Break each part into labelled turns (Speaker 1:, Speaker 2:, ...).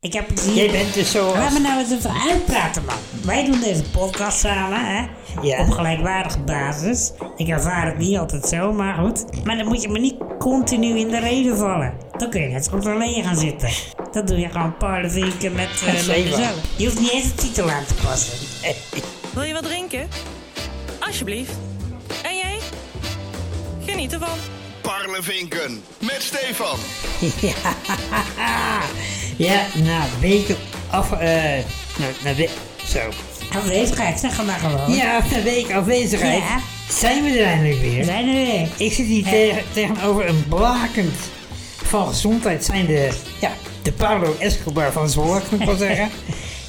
Speaker 1: Ik heb het hier...
Speaker 2: Jij bent dus zo
Speaker 1: Laat
Speaker 2: als-
Speaker 1: me nou eens even uitpraten, man. Wij doen deze podcast samen, hè?
Speaker 2: Ja.
Speaker 1: Op gelijkwaardige basis. Ik ervaar het niet altijd zo, maar goed. Maar dan moet je me niet continu in de reden vallen. Dan kun je net zo goed alleen gaan zitten. Dat doe je gewoon parlevinken met, eh,
Speaker 2: Dat
Speaker 1: met
Speaker 2: is zeker.
Speaker 1: mezelf. Je hoeft niet eens een titel aan te passen.
Speaker 3: Wil je wat drinken? Alsjeblieft. En jij? Geniet ervan.
Speaker 4: Parlevinken met Stefan.
Speaker 2: ja, na weken af... eh na, na we- zo.
Speaker 1: Afwezigheid, zeg maar gewoon.
Speaker 2: Ja, na weken afwezigheid
Speaker 1: Ja.
Speaker 2: zijn we er eindelijk
Speaker 1: We
Speaker 2: weer.
Speaker 1: zijn er weer.
Speaker 2: Ik zit hier
Speaker 1: Ja.
Speaker 2: tegen- tegenover een blakend van gezondheid zijnde... Ja, de Pablo Escobar van Zwolle, kan ik wel zeggen.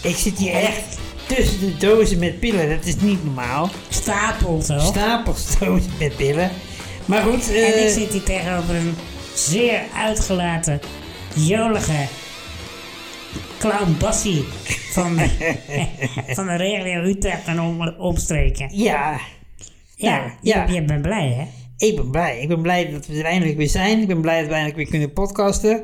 Speaker 2: Ik zit hier echt tussen de dozen met pillen. Dat is niet normaal.
Speaker 1: Stapel, toch?
Speaker 2: Stapels dozen met pillen. Maar goed... eh
Speaker 1: En ik zit hier tegenover een zeer uitgelaten, jolige clown Bassie van, van de regio Utrecht en om, omstreken.
Speaker 2: Ja,
Speaker 1: Ja,
Speaker 2: Ja,
Speaker 1: je-
Speaker 2: ja.
Speaker 1: Je, bent blij hè?
Speaker 2: Ik ben blij. Ik ben blij dat we er eindelijk weer zijn. Ik ben blij dat we eindelijk weer kunnen podcasten.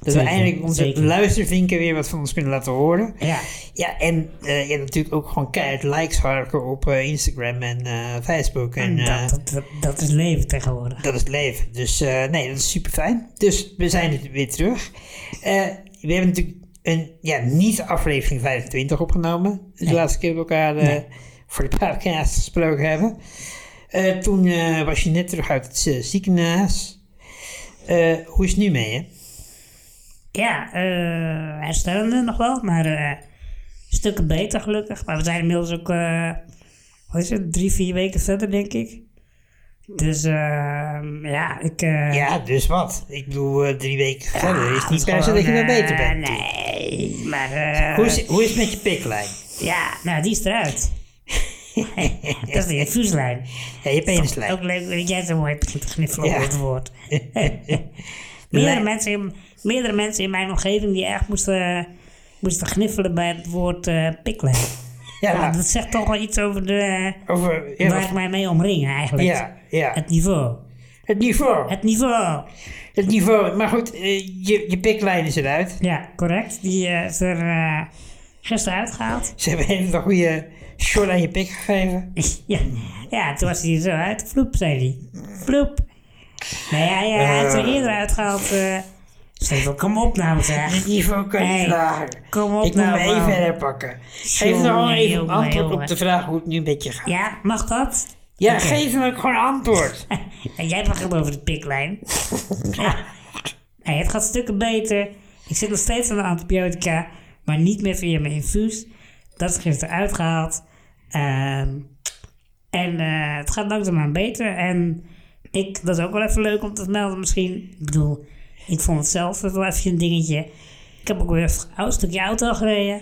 Speaker 2: Dat
Speaker 1: Zeker,
Speaker 2: we eindelijk onze
Speaker 1: zeker.
Speaker 2: luistervinken weer wat van ons kunnen laten horen.
Speaker 1: Ja.
Speaker 2: Ja, en eh, ja, natuurlijk ook gewoon keihard likes harken op eh, Instagram en eh, Facebook. En, eh,
Speaker 1: dat, dat, dat, dat is leven tegenwoordig.
Speaker 2: dat is het leven. Dus eh, nee, dat is super fijn. Dus we zijn er weer terug. Eh, we hebben natuurlijk een ja, niet aflevering 25 opgenomen. De laatste keer dat we elkaar eh, voor de podcast gesproken hebben. Eh, toen eh, was je net terug uit het eh, ziekenhuis. Eh, hoe is het nu mee, hè?
Speaker 1: Ja, eh herstellende nog wel, maar eh, stukken beter gelukkig. Maar we zijn inmiddels ook, eh wat is het, drie, vier weken verder denk ik. Dus eh, ja, ik... eh,
Speaker 2: Ja, dus wat? Ik bedoel, eh, drie weken verder is het niet
Speaker 1: het
Speaker 2: per se dat je
Speaker 1: gewoon,
Speaker 2: wel beter
Speaker 1: eh,
Speaker 2: bent.
Speaker 1: Nee, maar... eh,
Speaker 2: Hoe, is, hoe is het met je piklijn?
Speaker 1: Ja, nou, die is eruit. dat is de infuuslijn.
Speaker 2: Ja, je penislijn.
Speaker 1: Ook leuk dat jij zo mooi hebt gegniffeld
Speaker 2: Ja.
Speaker 1: op het woord. meerdere,
Speaker 2: Lijn.
Speaker 1: mensen in, meerdere mensen in mijn omgeving die echt moesten, moesten gniffelen bij het woord eh piklijn.
Speaker 2: Ja,
Speaker 1: Nou,
Speaker 2: nou,
Speaker 1: dat zegt toch wel iets over de,
Speaker 2: over, ja,
Speaker 1: waar ik mij mee omring eigenlijk.
Speaker 2: ja, ja.
Speaker 1: Het niveau.
Speaker 2: Het niveau.
Speaker 1: Het niveau.
Speaker 2: Het niveau, maar goed, eh, je, je piklijn is eruit.
Speaker 1: Ja, correct. Die eh, is er eh, gisteren uitgehaald.
Speaker 2: Ze hebben een hele goede short aan je pik gegeven.
Speaker 1: Ja, ja, toen was hij er zo uit. Vloep, zei hij. Vloep. Nou ja, ja, hij heeft er eerder uitgehaald. eh Steven, kom op nou zeg.
Speaker 2: Het niveau kan
Speaker 1: Hey,
Speaker 2: niet lager.
Speaker 1: kom op
Speaker 2: Ik moet
Speaker 1: nou,
Speaker 2: me even
Speaker 1: man.
Speaker 2: herpakken. Geef dan gewoon
Speaker 1: Jongen,
Speaker 2: even een
Speaker 1: jongen,
Speaker 2: antwoord op
Speaker 1: jongen.
Speaker 2: de vraag hoe het nu met je gaat.
Speaker 1: Ja, mag dat?
Speaker 2: Ja,
Speaker 1: Oké.
Speaker 2: geef hem ook gewoon antwoord.
Speaker 1: En jij mag hem over de piklijn. ja. Hey, het gaat stukken beter. Ik zit nog steeds aan de antibiotica, maar niet meer via mijn infuus. Dat is gisteren uitgehaald. Ehm, en eh, het gaat langzaamaan beter. En ik, dat is ook wel even leuk om te vermelden misschien. Ik bedoel, ik vond het zelf wel even een dingetje. Ik heb ook weer even een stukje auto gereden.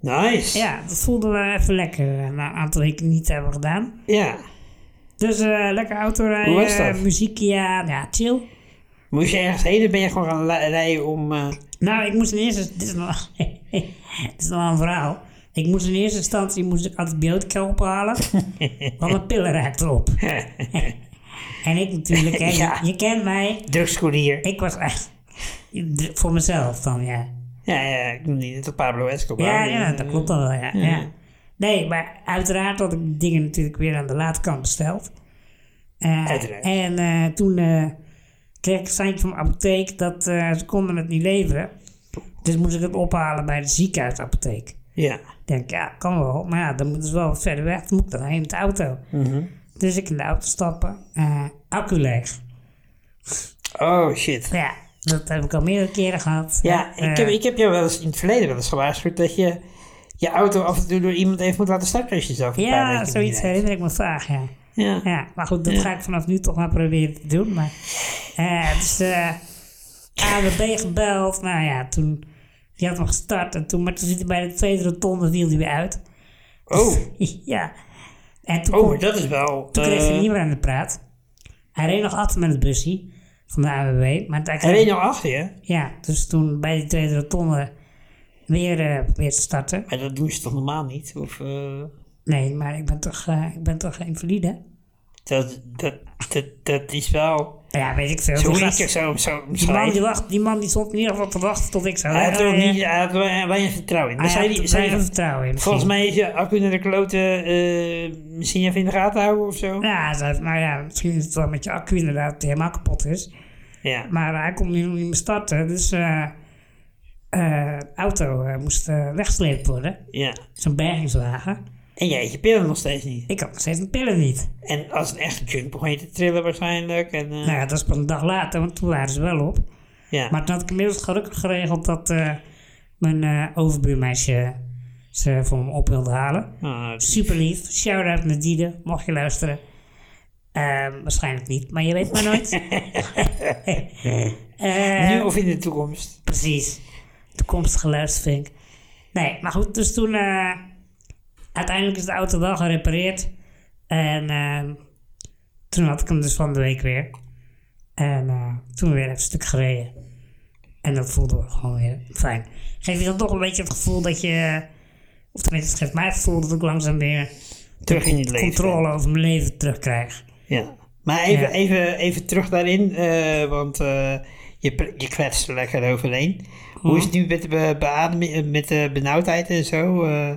Speaker 2: Nice.
Speaker 1: Ja, dat voelde wel even lekker. eh, Na een aantal weken niet te hebben gedaan.
Speaker 2: Ja.
Speaker 1: Dus eh, lekker autorijden,
Speaker 2: Hoe was dat?
Speaker 1: muziekje aan, ja, chill.
Speaker 2: Moest je ergens heen, dan ben je gewoon gaan la- rijden om... eh,
Speaker 1: Nou, ik moest in eerste dit is nog, dit is nog een verhaal. Ik moest in eerste instantie moest ik antibiotica ophalen, want mijn pillen raakten op. en ik natuurlijk, hè,
Speaker 2: Ja.
Speaker 1: je, je kent mij.
Speaker 2: drugscourier.
Speaker 1: Ik was echt voor mezelf dan, ja.
Speaker 2: Ja, ja, ik noem die net op Pablo Escobar.
Speaker 1: Ja,
Speaker 2: Die,
Speaker 1: ja,
Speaker 2: eh,
Speaker 1: dat klopt al wel, ja. ja. Nee, maar uiteraard had ik dingen natuurlijk weer aan de laadkant besteld. Eh,
Speaker 2: Uiteraard.
Speaker 1: En eh, toen eh, kreeg ik een seintje van mijn apotheek dat eh, ze konden het niet leveren. Dus moest ik het ophalen bij de ziekenhuisapotheek.
Speaker 2: Ja.
Speaker 1: Ik denk, ja, kan wel, maar ja, dan moeten ze wel wat verder weg. Dan moet ik dan heen met de auto.
Speaker 2: Mhm.
Speaker 1: Dus ik in de auto stappen, eh, accu leeg.
Speaker 2: Oh, shit.
Speaker 1: Ja, dat heb ik al meerdere keren gehad.
Speaker 2: Ja, ik heb,
Speaker 1: Eh,
Speaker 2: ik heb jou wel eens in het verleden wel eens gewaarschuwd dat je je auto af en toe door iemand even moet laten starten als je zelf een paar
Speaker 1: ja
Speaker 2: weken
Speaker 1: zoiets
Speaker 2: niet rijdt.
Speaker 1: herinner ik me vaag, ja.
Speaker 2: Ja.
Speaker 1: Ja, maar goed, dat ga ik vanaf nu toch maar proberen te doen. Maar, eh, dus eh A en B gebeld. Nou ja, toen, die had hem gestart. En toen, maar toen zit hij bij de tweede rotonde, viel hij weer uit.
Speaker 2: Oh,
Speaker 1: ja. En toen,
Speaker 2: oh,
Speaker 1: kon-
Speaker 2: maar dat is wel...
Speaker 1: toen kreeg hij
Speaker 2: eh,
Speaker 1: niet meer aan de praat. Hij reed nog achter met het busje van de AWB. Maar daar
Speaker 2: hij
Speaker 1: kreeg-
Speaker 2: reed nog achter je,
Speaker 1: Ja, dus toen bij die tweede rotonde weer, eh weer te starten.
Speaker 2: maar dat doen ze toch normaal niet? Of, eh,
Speaker 1: Nee, maar ik ben toch, eh, ik ben toch invalide?
Speaker 2: Dat, dat, dat, dat is wel...
Speaker 1: Ja, weet ik veel.
Speaker 2: Zo
Speaker 1: Die
Speaker 2: liet
Speaker 1: gast-
Speaker 2: ik zo, zo
Speaker 1: Die man, die,
Speaker 2: omschrijven.
Speaker 1: wacht, die man die stond in ieder geval te wachten tot ik zou
Speaker 2: Hij had er ook
Speaker 1: rijden.
Speaker 2: niet, hij had er wel weinig vertrouwen in.
Speaker 1: Hij
Speaker 2: Maar zei
Speaker 1: had
Speaker 2: die-
Speaker 1: er
Speaker 2: zei-
Speaker 1: weinig vertrouwen in.
Speaker 2: volgens
Speaker 1: misschien.
Speaker 2: mij is je accu naar de kloten eh, misschien even in de gaten houden of zo.
Speaker 1: Ja, dat- maar ja, misschien is het wel met je accu inderdaad die helemaal kapot is.
Speaker 2: Ja.
Speaker 1: Maar hij kon nu nog niet meer starten, dus eh eh, auto eh, moest eh, weggesleept worden.
Speaker 2: ja.
Speaker 1: Zo'n bergingswagen.
Speaker 2: En jij eet je pillen nog steeds niet.
Speaker 1: Ik had nog steeds mijn pillen niet.
Speaker 2: En als een echte junk begon je te trillen waarschijnlijk. En, eh,
Speaker 1: Nou ja, dat is pas een dag later, want toen waren ze wel op.
Speaker 2: ja.
Speaker 1: Maar toen had ik inmiddels gelukkig geregeld dat eh, mijn eh, overbuurmeisje ze voor me op wilde halen.
Speaker 2: Ah,
Speaker 1: Super lief. Shout-out naar Diede, mocht je luisteren. Ehm, waarschijnlijk niet, maar je weet maar nooit. Eh,
Speaker 2: nu of in de toekomst.
Speaker 1: Precies. Toekomstige luistervink. Nee, maar goed, dus toen... eh, uiteindelijk is de auto wel gerepareerd. En ehm, toen had ik hem dus van de week weer. En eh, toen weer even een stuk gereden. En dat voelde wel gewoon weer fijn. Geef je dan toch een beetje het gevoel dat je... Of tenminste, het geeft mij het gevoel dat ik langzaam weer...
Speaker 2: Terug in het leven.
Speaker 1: Controle over mijn leven terugkrijg.
Speaker 2: Ja. Maar even,
Speaker 1: Ja.
Speaker 2: even, even terug daarin, eh, want eh, je, pr- je kwetst er lekker overheen. Hoe is het nu met de be- beademing, eh, met de benauwdheid en zo? eh,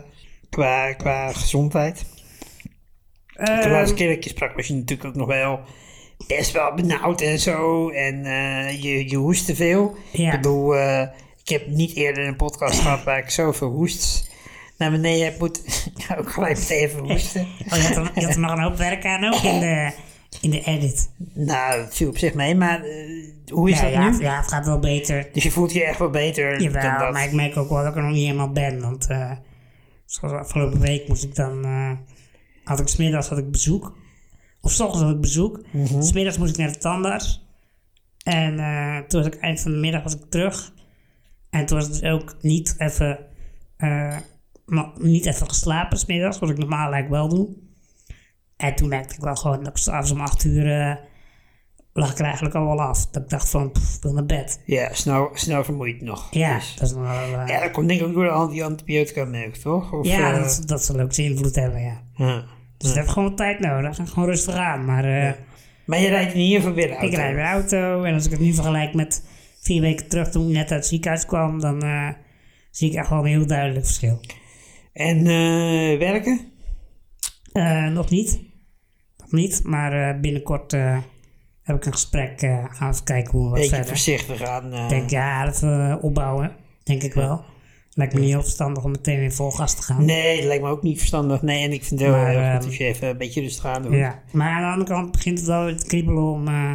Speaker 2: qua, qua gezondheid?
Speaker 1: Eh, Ehm,
Speaker 2: De laatste keer dat ik je sprak was je natuurlijk ook nog wel best wel benauwd en zo. En eh, je, je hoest te veel.
Speaker 1: Ja.
Speaker 2: Ik bedoel, eh, ik heb niet eerder een podcast gehad waar ik zoveel hoests naar beneden heb moeten. ook gelijk meteen even hoesten.
Speaker 1: Oh, je, had er, je had er nog een hoop werk aan ook in de, in de edit.
Speaker 2: Nou, het viel op zich mee, maar eh, hoe is
Speaker 1: Ja,
Speaker 2: dat
Speaker 1: ja,
Speaker 2: nu?
Speaker 1: ja, het gaat wel beter.
Speaker 2: Dus je voelt je echt wel beter dan
Speaker 1: Jawel,
Speaker 2: dat.
Speaker 1: maar ik merk ook wel dat ik er nog niet helemaal ben. Want eh, zoals afgelopen week moest ik dan... eh, had ik smiddags had ik bezoek. Of 's ochtends had ik bezoek.
Speaker 2: Mhm.
Speaker 1: Smiddags moest ik naar de tandarts. En eh, toen was ik eind van de middag was ik terug. En toen was het dus ook niet even... eh, maar niet even geslapen smiddags, wat ik normaal eigenlijk wel doe. En toen merkte ik wel gewoon dat ik s'avonds om acht uur... eh, lag ik er eigenlijk al wel af. Dat ik dacht van, pff, ik wil naar bed.
Speaker 2: Ja, snel, snel vermoeid nog.
Speaker 1: Ja,
Speaker 2: Dus-
Speaker 1: dat is nog wel... eh,
Speaker 2: ja, dat komt denk ik ook door al die antibiotica melk, toch? Of,
Speaker 1: ja,
Speaker 2: eh,
Speaker 1: dat, dat zal ook zijn invloed hebben, ja.
Speaker 2: ja.
Speaker 1: Dus dat heeft gewoon wat tijd nodig. En gewoon rustig aan. Maar eh,
Speaker 2: Maar je rijdt in ieder geval weer auto.
Speaker 1: ik rijd weer auto. En als ik het nu vergelijk met vier weken terug toen ik net uit het ziekenhuis kwam, dan eh, zie ik echt wel een heel duidelijk verschil.
Speaker 2: En eh, werken?
Speaker 1: Eh, nog niet. Nog niet. Maar eh, binnenkort eh, heb ik een gesprek. eh gaan we even kijken hoe we wat
Speaker 2: Beetje
Speaker 1: verder.
Speaker 2: voorzichtig aan. eh,
Speaker 1: Ik denk, ja, even eh, opbouwen. Denk ik wel. Lijkt me niet heel verstandig om meteen weer vol gas te gaan.
Speaker 2: Nee, dat lijkt me ook niet verstandig. Nee, en ik vind het wel
Speaker 1: Maar,
Speaker 2: heel goed
Speaker 1: ehm,
Speaker 2: als je even een beetje rustig aan doet.
Speaker 1: Ja, maar aan de andere kant begint het wel weer te kriebelen om eh,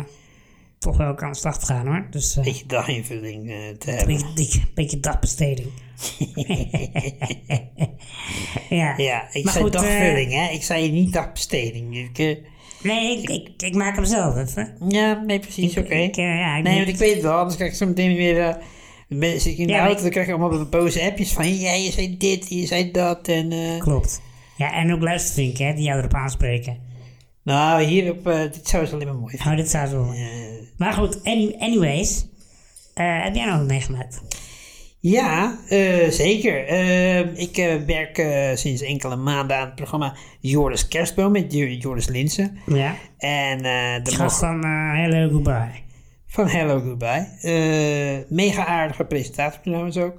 Speaker 1: toch wel ook aan de slag te gaan hoor. Dus eh,
Speaker 2: Een beetje daginvulling eh, te
Speaker 1: een
Speaker 2: hebben.
Speaker 1: beetje, beetje, beetje dagbesteding. ja.
Speaker 2: Ja, ik
Speaker 1: Maar
Speaker 2: zei
Speaker 1: goed, eh,
Speaker 2: dagvulling, hè. Ik zei niet dagbesteding. Ik, eh,
Speaker 1: Nee, ik, ik, ik maak hem zelf even.
Speaker 2: ja, nee, precies, oké.
Speaker 1: Ik, eh, ja, ik
Speaker 2: Nee,
Speaker 1: moet-
Speaker 2: want ik weet het wel, anders krijg ik zo meteen weer. eh, ben- zit ik in de
Speaker 1: Ja,
Speaker 2: auto,
Speaker 1: ik-
Speaker 2: dan krijg ik allemaal boze appjes van. Ja, je zei dit, je zei dat. En, eh,
Speaker 1: Klopt. Ja, en ook luistervinken hè, die jou erop aanspreken.
Speaker 2: nou, hierop, eh dit zou ze alleen maar mooi vinden.
Speaker 1: Oh, dit zou zo. Maar goed, any- anyways. eh, heb jij nog wat meegemaakt?
Speaker 2: Ja, eh, zeker. Eh, ik eh, werk eh, sinds enkele maanden aan het programma Joris Kerstboom met Jo- Joris Linsen.
Speaker 1: Ja.
Speaker 2: En eh, de
Speaker 1: Die
Speaker 2: mog-
Speaker 1: gast van eh, Hello Goodbye.
Speaker 2: van Hello Goodbye. Eh, mega aardige presentator trouwens ook.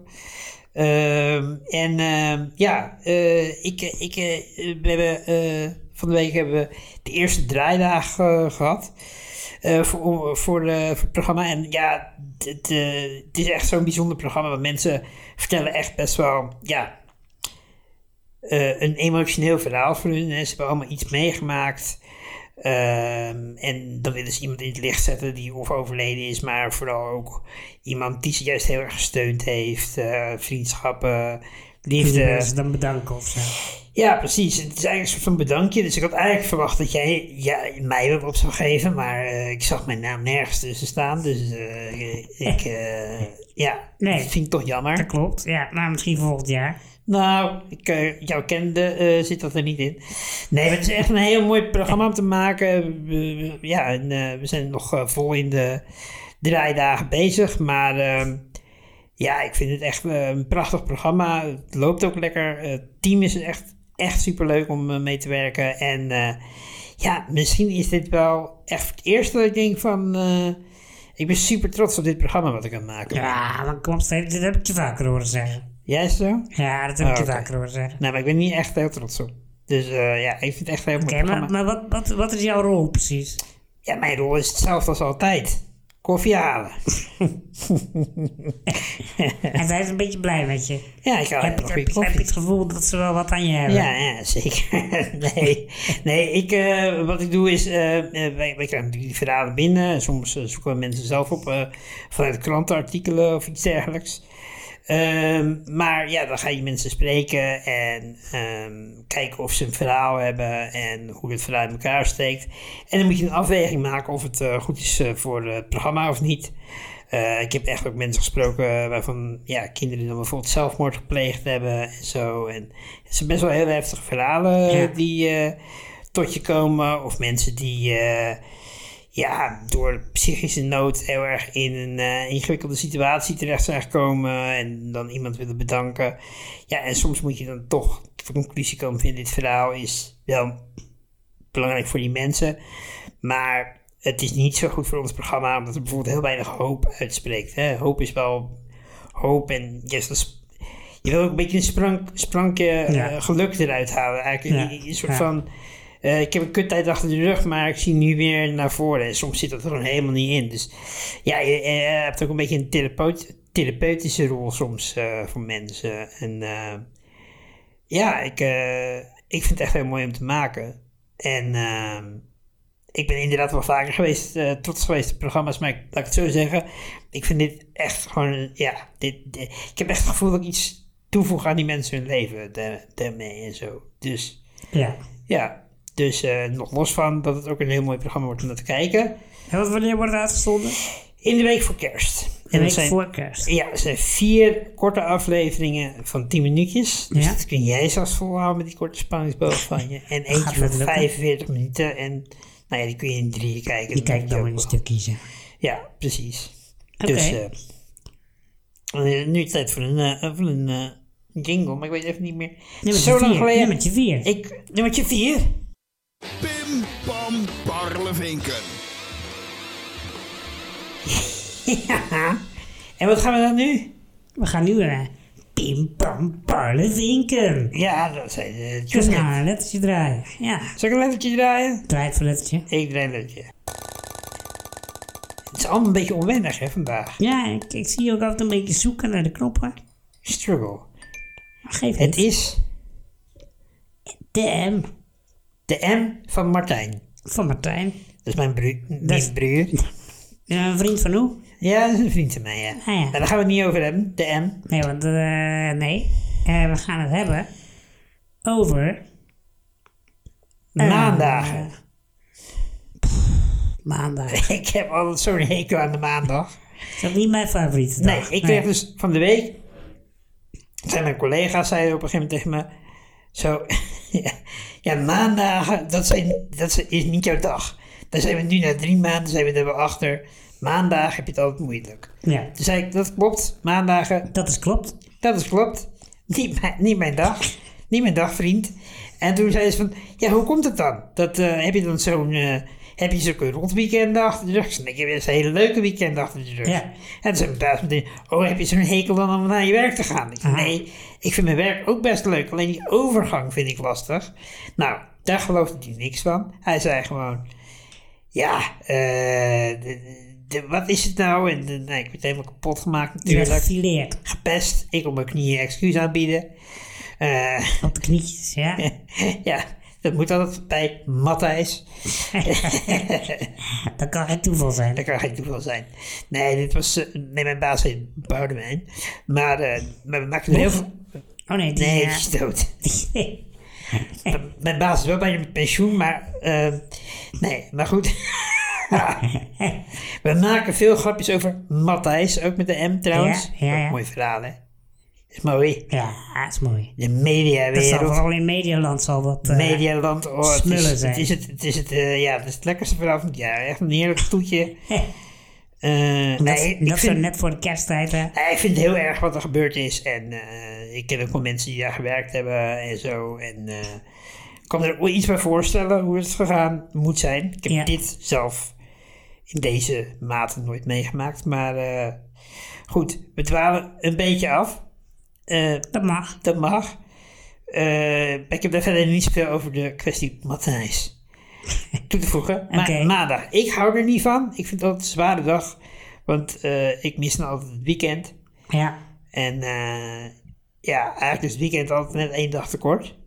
Speaker 2: Ehm, en ehm, ja, eh, ik, ik, eh, we hebben, eh, van de week hebben we de eerste draaidag eh, gehad eh, voor, voor, eh, voor het programma. En ja, het, eh, het is echt zo'n bijzonder programma, want mensen vertellen echt best wel, ja, eh, een emotioneel verhaal voor hun. hè. Ze hebben allemaal iets meegemaakt. Ehm, en dan willen ze iemand in het licht zetten die of overleden is, maar vooral ook iemand die ze juist heel erg gesteund heeft. eh, vriendschappen,
Speaker 1: Die
Speaker 2: liefde.
Speaker 1: mensen dan bedanken of zo.
Speaker 2: Ja, precies. Het is eigenlijk een soort van bedankje. Dus ik had eigenlijk verwacht dat jij ja, mij wat op zou geven, maar eh, ik zag mijn naam nergens tussen staan. Dus eh, ik, eh, ja,
Speaker 1: Nee.
Speaker 2: dat vind ik toch jammer.
Speaker 1: Dat klopt. Ja, nou misschien volgend jaar.
Speaker 2: Nou, ik, eh, jouw kende eh, zit dat er niet in. Nee, maar het is echt een heel mooi programma om te maken. We- we- ja, en, eh, we zijn nog eh, vol in de draaidagen bezig. Maar ehm, ja, ik vind het echt eh, een prachtig programma. Het loopt ook lekker. Het team is echt, echt superleuk om eh, mee te werken. En eh, Ja, misschien is dit wel echt het eerste dat ik denk van... eh, ik ben super trots op dit programma wat ik aan het maken ben.
Speaker 1: Ja, maar kom op, Steven, dit heb ik je vaker horen zeggen.
Speaker 2: Jij is zo?
Speaker 1: Ja, dat heb ik
Speaker 2: Ah,
Speaker 1: je
Speaker 2: oké.
Speaker 1: vaker horen zeggen.
Speaker 2: Nou, maar ik ben niet echt heel trots op. Dus eh, ja, ik vind het echt een heel
Speaker 1: Oké,
Speaker 2: mooi
Speaker 1: maar,
Speaker 2: programma.
Speaker 1: maar wat, wat, wat is jouw rol precies?
Speaker 2: Ja, mijn rol is hetzelfde als altijd. Koffie halen.
Speaker 1: en zij is een beetje blij met je.
Speaker 2: Oh, Ja, ik haal
Speaker 1: Heb
Speaker 2: hele
Speaker 1: je, heb, je-
Speaker 2: goede
Speaker 1: heb je
Speaker 2: koffie.
Speaker 1: het gevoel dat ze wel wat aan je hebben?
Speaker 2: Ja, ja, zeker. nee, nee ik, eh, wat ik doe is, eh, eh, wij, wij krijgen die verhalen binnen. Soms eh, zoeken we mensen zelf op eh, vanuit krantenartikelen of iets dergelijks. Ehm, maar ja, dan ga je mensen spreken en ehm, kijken of ze een verhaal hebben en hoe het verhaal in elkaar steekt. En dan moet je een afweging maken of het eh, goed is eh, voor het programma of niet. Eh, ik heb echt ook mensen gesproken waarvan ja, kinderen dan bijvoorbeeld zelfmoord gepleegd hebben en zo. En het zijn best wel heel heftige verhalen eh,
Speaker 1: Ja.
Speaker 2: die eh, tot je komen. Of mensen die eh, ja, door psychische nood heel erg in een eh, ingewikkelde situatie terecht zijn gekomen. En dan iemand willen bedanken. Ja, en soms moet je dan toch tot de conclusie komen van dit verhaal is wel belangrijk voor die mensen. Maar het is niet zo goed voor ons programma, omdat het bijvoorbeeld heel weinig hoop uitspreekt. Hè? Hoop is wel hoop en yes, dat is- je wil ook een beetje een sprank, sprankje
Speaker 1: Ja.
Speaker 2: eh, geluk eruit halen. Eigenlijk
Speaker 1: Ja,
Speaker 2: een, een soort
Speaker 1: ja.
Speaker 2: van, eh, ik heb een kuttijd achter de rug, maar ik zie nu weer naar voren. En soms zit dat er gewoon helemaal niet in. Dus ja, je, eh, hebt ook een beetje een therapeut, therapeutische rol soms eh, voor mensen. En eh, ja, ik, eh, ik vind het echt heel mooi om te maken. En ehm, ik ben inderdaad wel vaker geweest, eh, trots geweest op programma's, maar ik, laat ik het zo zeggen, ik vind dit echt gewoon, eh, ja, dit, dit- ik heb echt het gevoel dat ik iets toevoeg aan die mensen hun leven daar- daarmee en zo. Dus
Speaker 1: Ja.
Speaker 2: ja, dus eh, nog los van dat het ook een heel mooi programma wordt om naar te kijken.
Speaker 1: En wat wanneer wordt het uitgezonden?
Speaker 2: In de week voor kerst. En
Speaker 1: De
Speaker 2: dat
Speaker 1: week
Speaker 2: zijn-
Speaker 1: voor kerst.
Speaker 2: ja, het zijn vier korte afleveringen van 10 minuutjes. Dus
Speaker 1: Ja.
Speaker 2: dat kun jij zelfs volhouden met die korte spanningsboog van je. En
Speaker 1: Gaat
Speaker 2: eentje van
Speaker 1: dat lukken?
Speaker 2: 45 minuten. En nou ja, die kun je in drieën kijken.
Speaker 1: Die
Speaker 2: Dan
Speaker 1: kijkt
Speaker 2: heb je
Speaker 1: dan in een
Speaker 2: ook wel-
Speaker 1: stuk kiezen.
Speaker 2: Ja, precies.
Speaker 1: Oké.
Speaker 2: Dus eh, eh, nu tijd voor een, eh, voor een eh, jingle, maar ik weet even niet meer.
Speaker 1: Nummertje
Speaker 2: Zo lang
Speaker 1: vier.
Speaker 2: geleden.
Speaker 1: Nummertje vier.
Speaker 2: Ik, nummertje 4.
Speaker 4: Pim Pam Parlevinken.
Speaker 2: Ja. En wat gaan we dan nu?
Speaker 1: We gaan nu naar Pim Pam Parlevinken.
Speaker 2: Ja, dat zijn de
Speaker 1: Dus
Speaker 2: tune-in.
Speaker 1: nou, een lettertje draaien. Ja,
Speaker 2: Zal ik een lettertje draaien?
Speaker 1: draai het voor lettertje.
Speaker 2: Ik draai een lettertje. Het is allemaal een beetje onwennig hè, vandaag.
Speaker 1: Ja, ik, ik zie je ook altijd een beetje zoeken naar de knoppen.
Speaker 2: Struggle.
Speaker 1: Maar geef
Speaker 2: Het
Speaker 1: niet.
Speaker 2: is
Speaker 1: De M
Speaker 2: de M van Martijn.
Speaker 1: van Martijn.
Speaker 2: Dat is mijn bru-
Speaker 1: is-
Speaker 2: mijn broer.
Speaker 1: Ja, een vriend van hoe?
Speaker 2: Ja, dat is een vriend van mij, ja.
Speaker 1: Ah, ja.
Speaker 2: Maar daar gaan we het niet over hebben, de M.
Speaker 1: Nee, want eh, nee. Eh, we gaan het hebben over Eh,
Speaker 2: Maandagen.
Speaker 1: maandag.
Speaker 2: Ik heb altijd zo'n hekel aan de maandag.
Speaker 1: Dat is ook niet mijn favoriete
Speaker 2: Nee,
Speaker 1: dag.
Speaker 2: ik kreeg dus van de week... Zijn mijn collega's zeiden op een gegeven moment tegen me... Zo, ja, ja, maandagen, dat, zijn, dat zijn- is niet jouw dag. Daar zijn we nu na drie maanden, zijn we er wel achter. Maandag heb je het altijd moeilijk.
Speaker 1: Ja,
Speaker 2: Toen zei ik, dat klopt, maandagen,
Speaker 1: dat is klopt.
Speaker 2: dat is klopt. Niet mijn, niet mijn dag, niet mijn dag, vriend. En toen zei ze van, ja, hoe komt het dan? Dat, eh, heb je dan zo'n... eh, heb je zo'n rot weekend achter de rug? Ik zei, nee, ik heb eerst een hele leuke weekend achter de rug.
Speaker 1: Ja.
Speaker 2: En toen zei mijn baas meteen, oh, heb je zo'n hekel dan om naar je werk te gaan? Ik zei,
Speaker 1: Aha.
Speaker 2: nee, ik vind mijn werk ook best leuk, alleen die overgang vind ik lastig. Nou, daar geloofde hij niks van. Hij zei gewoon, ja, eh, de- de- wat is het nou? En eh, nee, ik werd helemaal kapot gemaakt
Speaker 1: Je werd
Speaker 2: natuurlijk
Speaker 1: gefileerd
Speaker 2: gepest. Ik op mijn knieën excuus aanbieden. Eh,
Speaker 1: op de knietjes, ja.
Speaker 2: ja, dat moet altijd bij Matthijs.
Speaker 1: Dat kan geen toeval zijn.
Speaker 2: Dat kan geen toeval zijn. Nee, dit was, eh, nee mijn baas heet Boudewijn. Maar, eh, maar we maken er heel veel...
Speaker 1: Oh nee, die,
Speaker 2: Nee,
Speaker 1: nee.
Speaker 2: die is dood. Mijn baas is wel bijna met pensioen, maar... eh, nee, maar goed. we maken veel grapjes over Matthijs, ook met de M trouwens.
Speaker 1: Ja, ja, ja.
Speaker 2: Ook Mooi verhaal, hè? Is mooi.
Speaker 1: ja, dat is mooi.
Speaker 2: De
Speaker 1: Dat zal
Speaker 2: mediawereld.
Speaker 1: vooral in Medialand zal dat... eh,
Speaker 2: Medialand. Oh, het
Speaker 1: smullen
Speaker 2: is,
Speaker 1: zijn.
Speaker 2: het, is het, het is het, eh, ja, het is het lekkerste verhaal van het jaar. Echt een heerlijk toetje. Eh,
Speaker 1: Dat,
Speaker 2: nee, ik,
Speaker 1: dat is zo
Speaker 2: vind,
Speaker 1: net voor de eh, kersttijd, hè.
Speaker 2: nee, ik vind het heel erg wat er gebeurd is. En eh, ik ken ook wel mensen die daar gewerkt hebben en zo. En eh, kan me er iets bij voorstellen hoe het gegaan moet zijn. Ik heb
Speaker 1: Ja.
Speaker 2: dit zelf in deze mate nooit meegemaakt. Maar eh, goed, we dwalen een beetje af. Eh,
Speaker 1: Dat mag.
Speaker 2: dat mag. Eh, ik heb daar verder niet zoveel over de kwestie Matthijs toe te voegen. Maar
Speaker 1: Oké.
Speaker 2: maandag, ik hou er niet van. Ik vind dat een zware dag. Want eh, ik mis dan altijd het weekend.
Speaker 1: Ja.
Speaker 2: En eh, ja, eigenlijk is het weekend altijd net één dag tekort.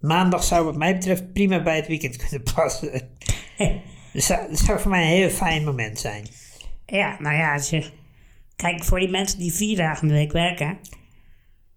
Speaker 2: Maandag zou wat mij betreft prima bij het weekend kunnen passen. Dus Dat zou, dat zou voor mij een heel fijn moment zijn.
Speaker 1: Ja, nou ja, als je... Kijk, voor die mensen die vier dagen in de week werken...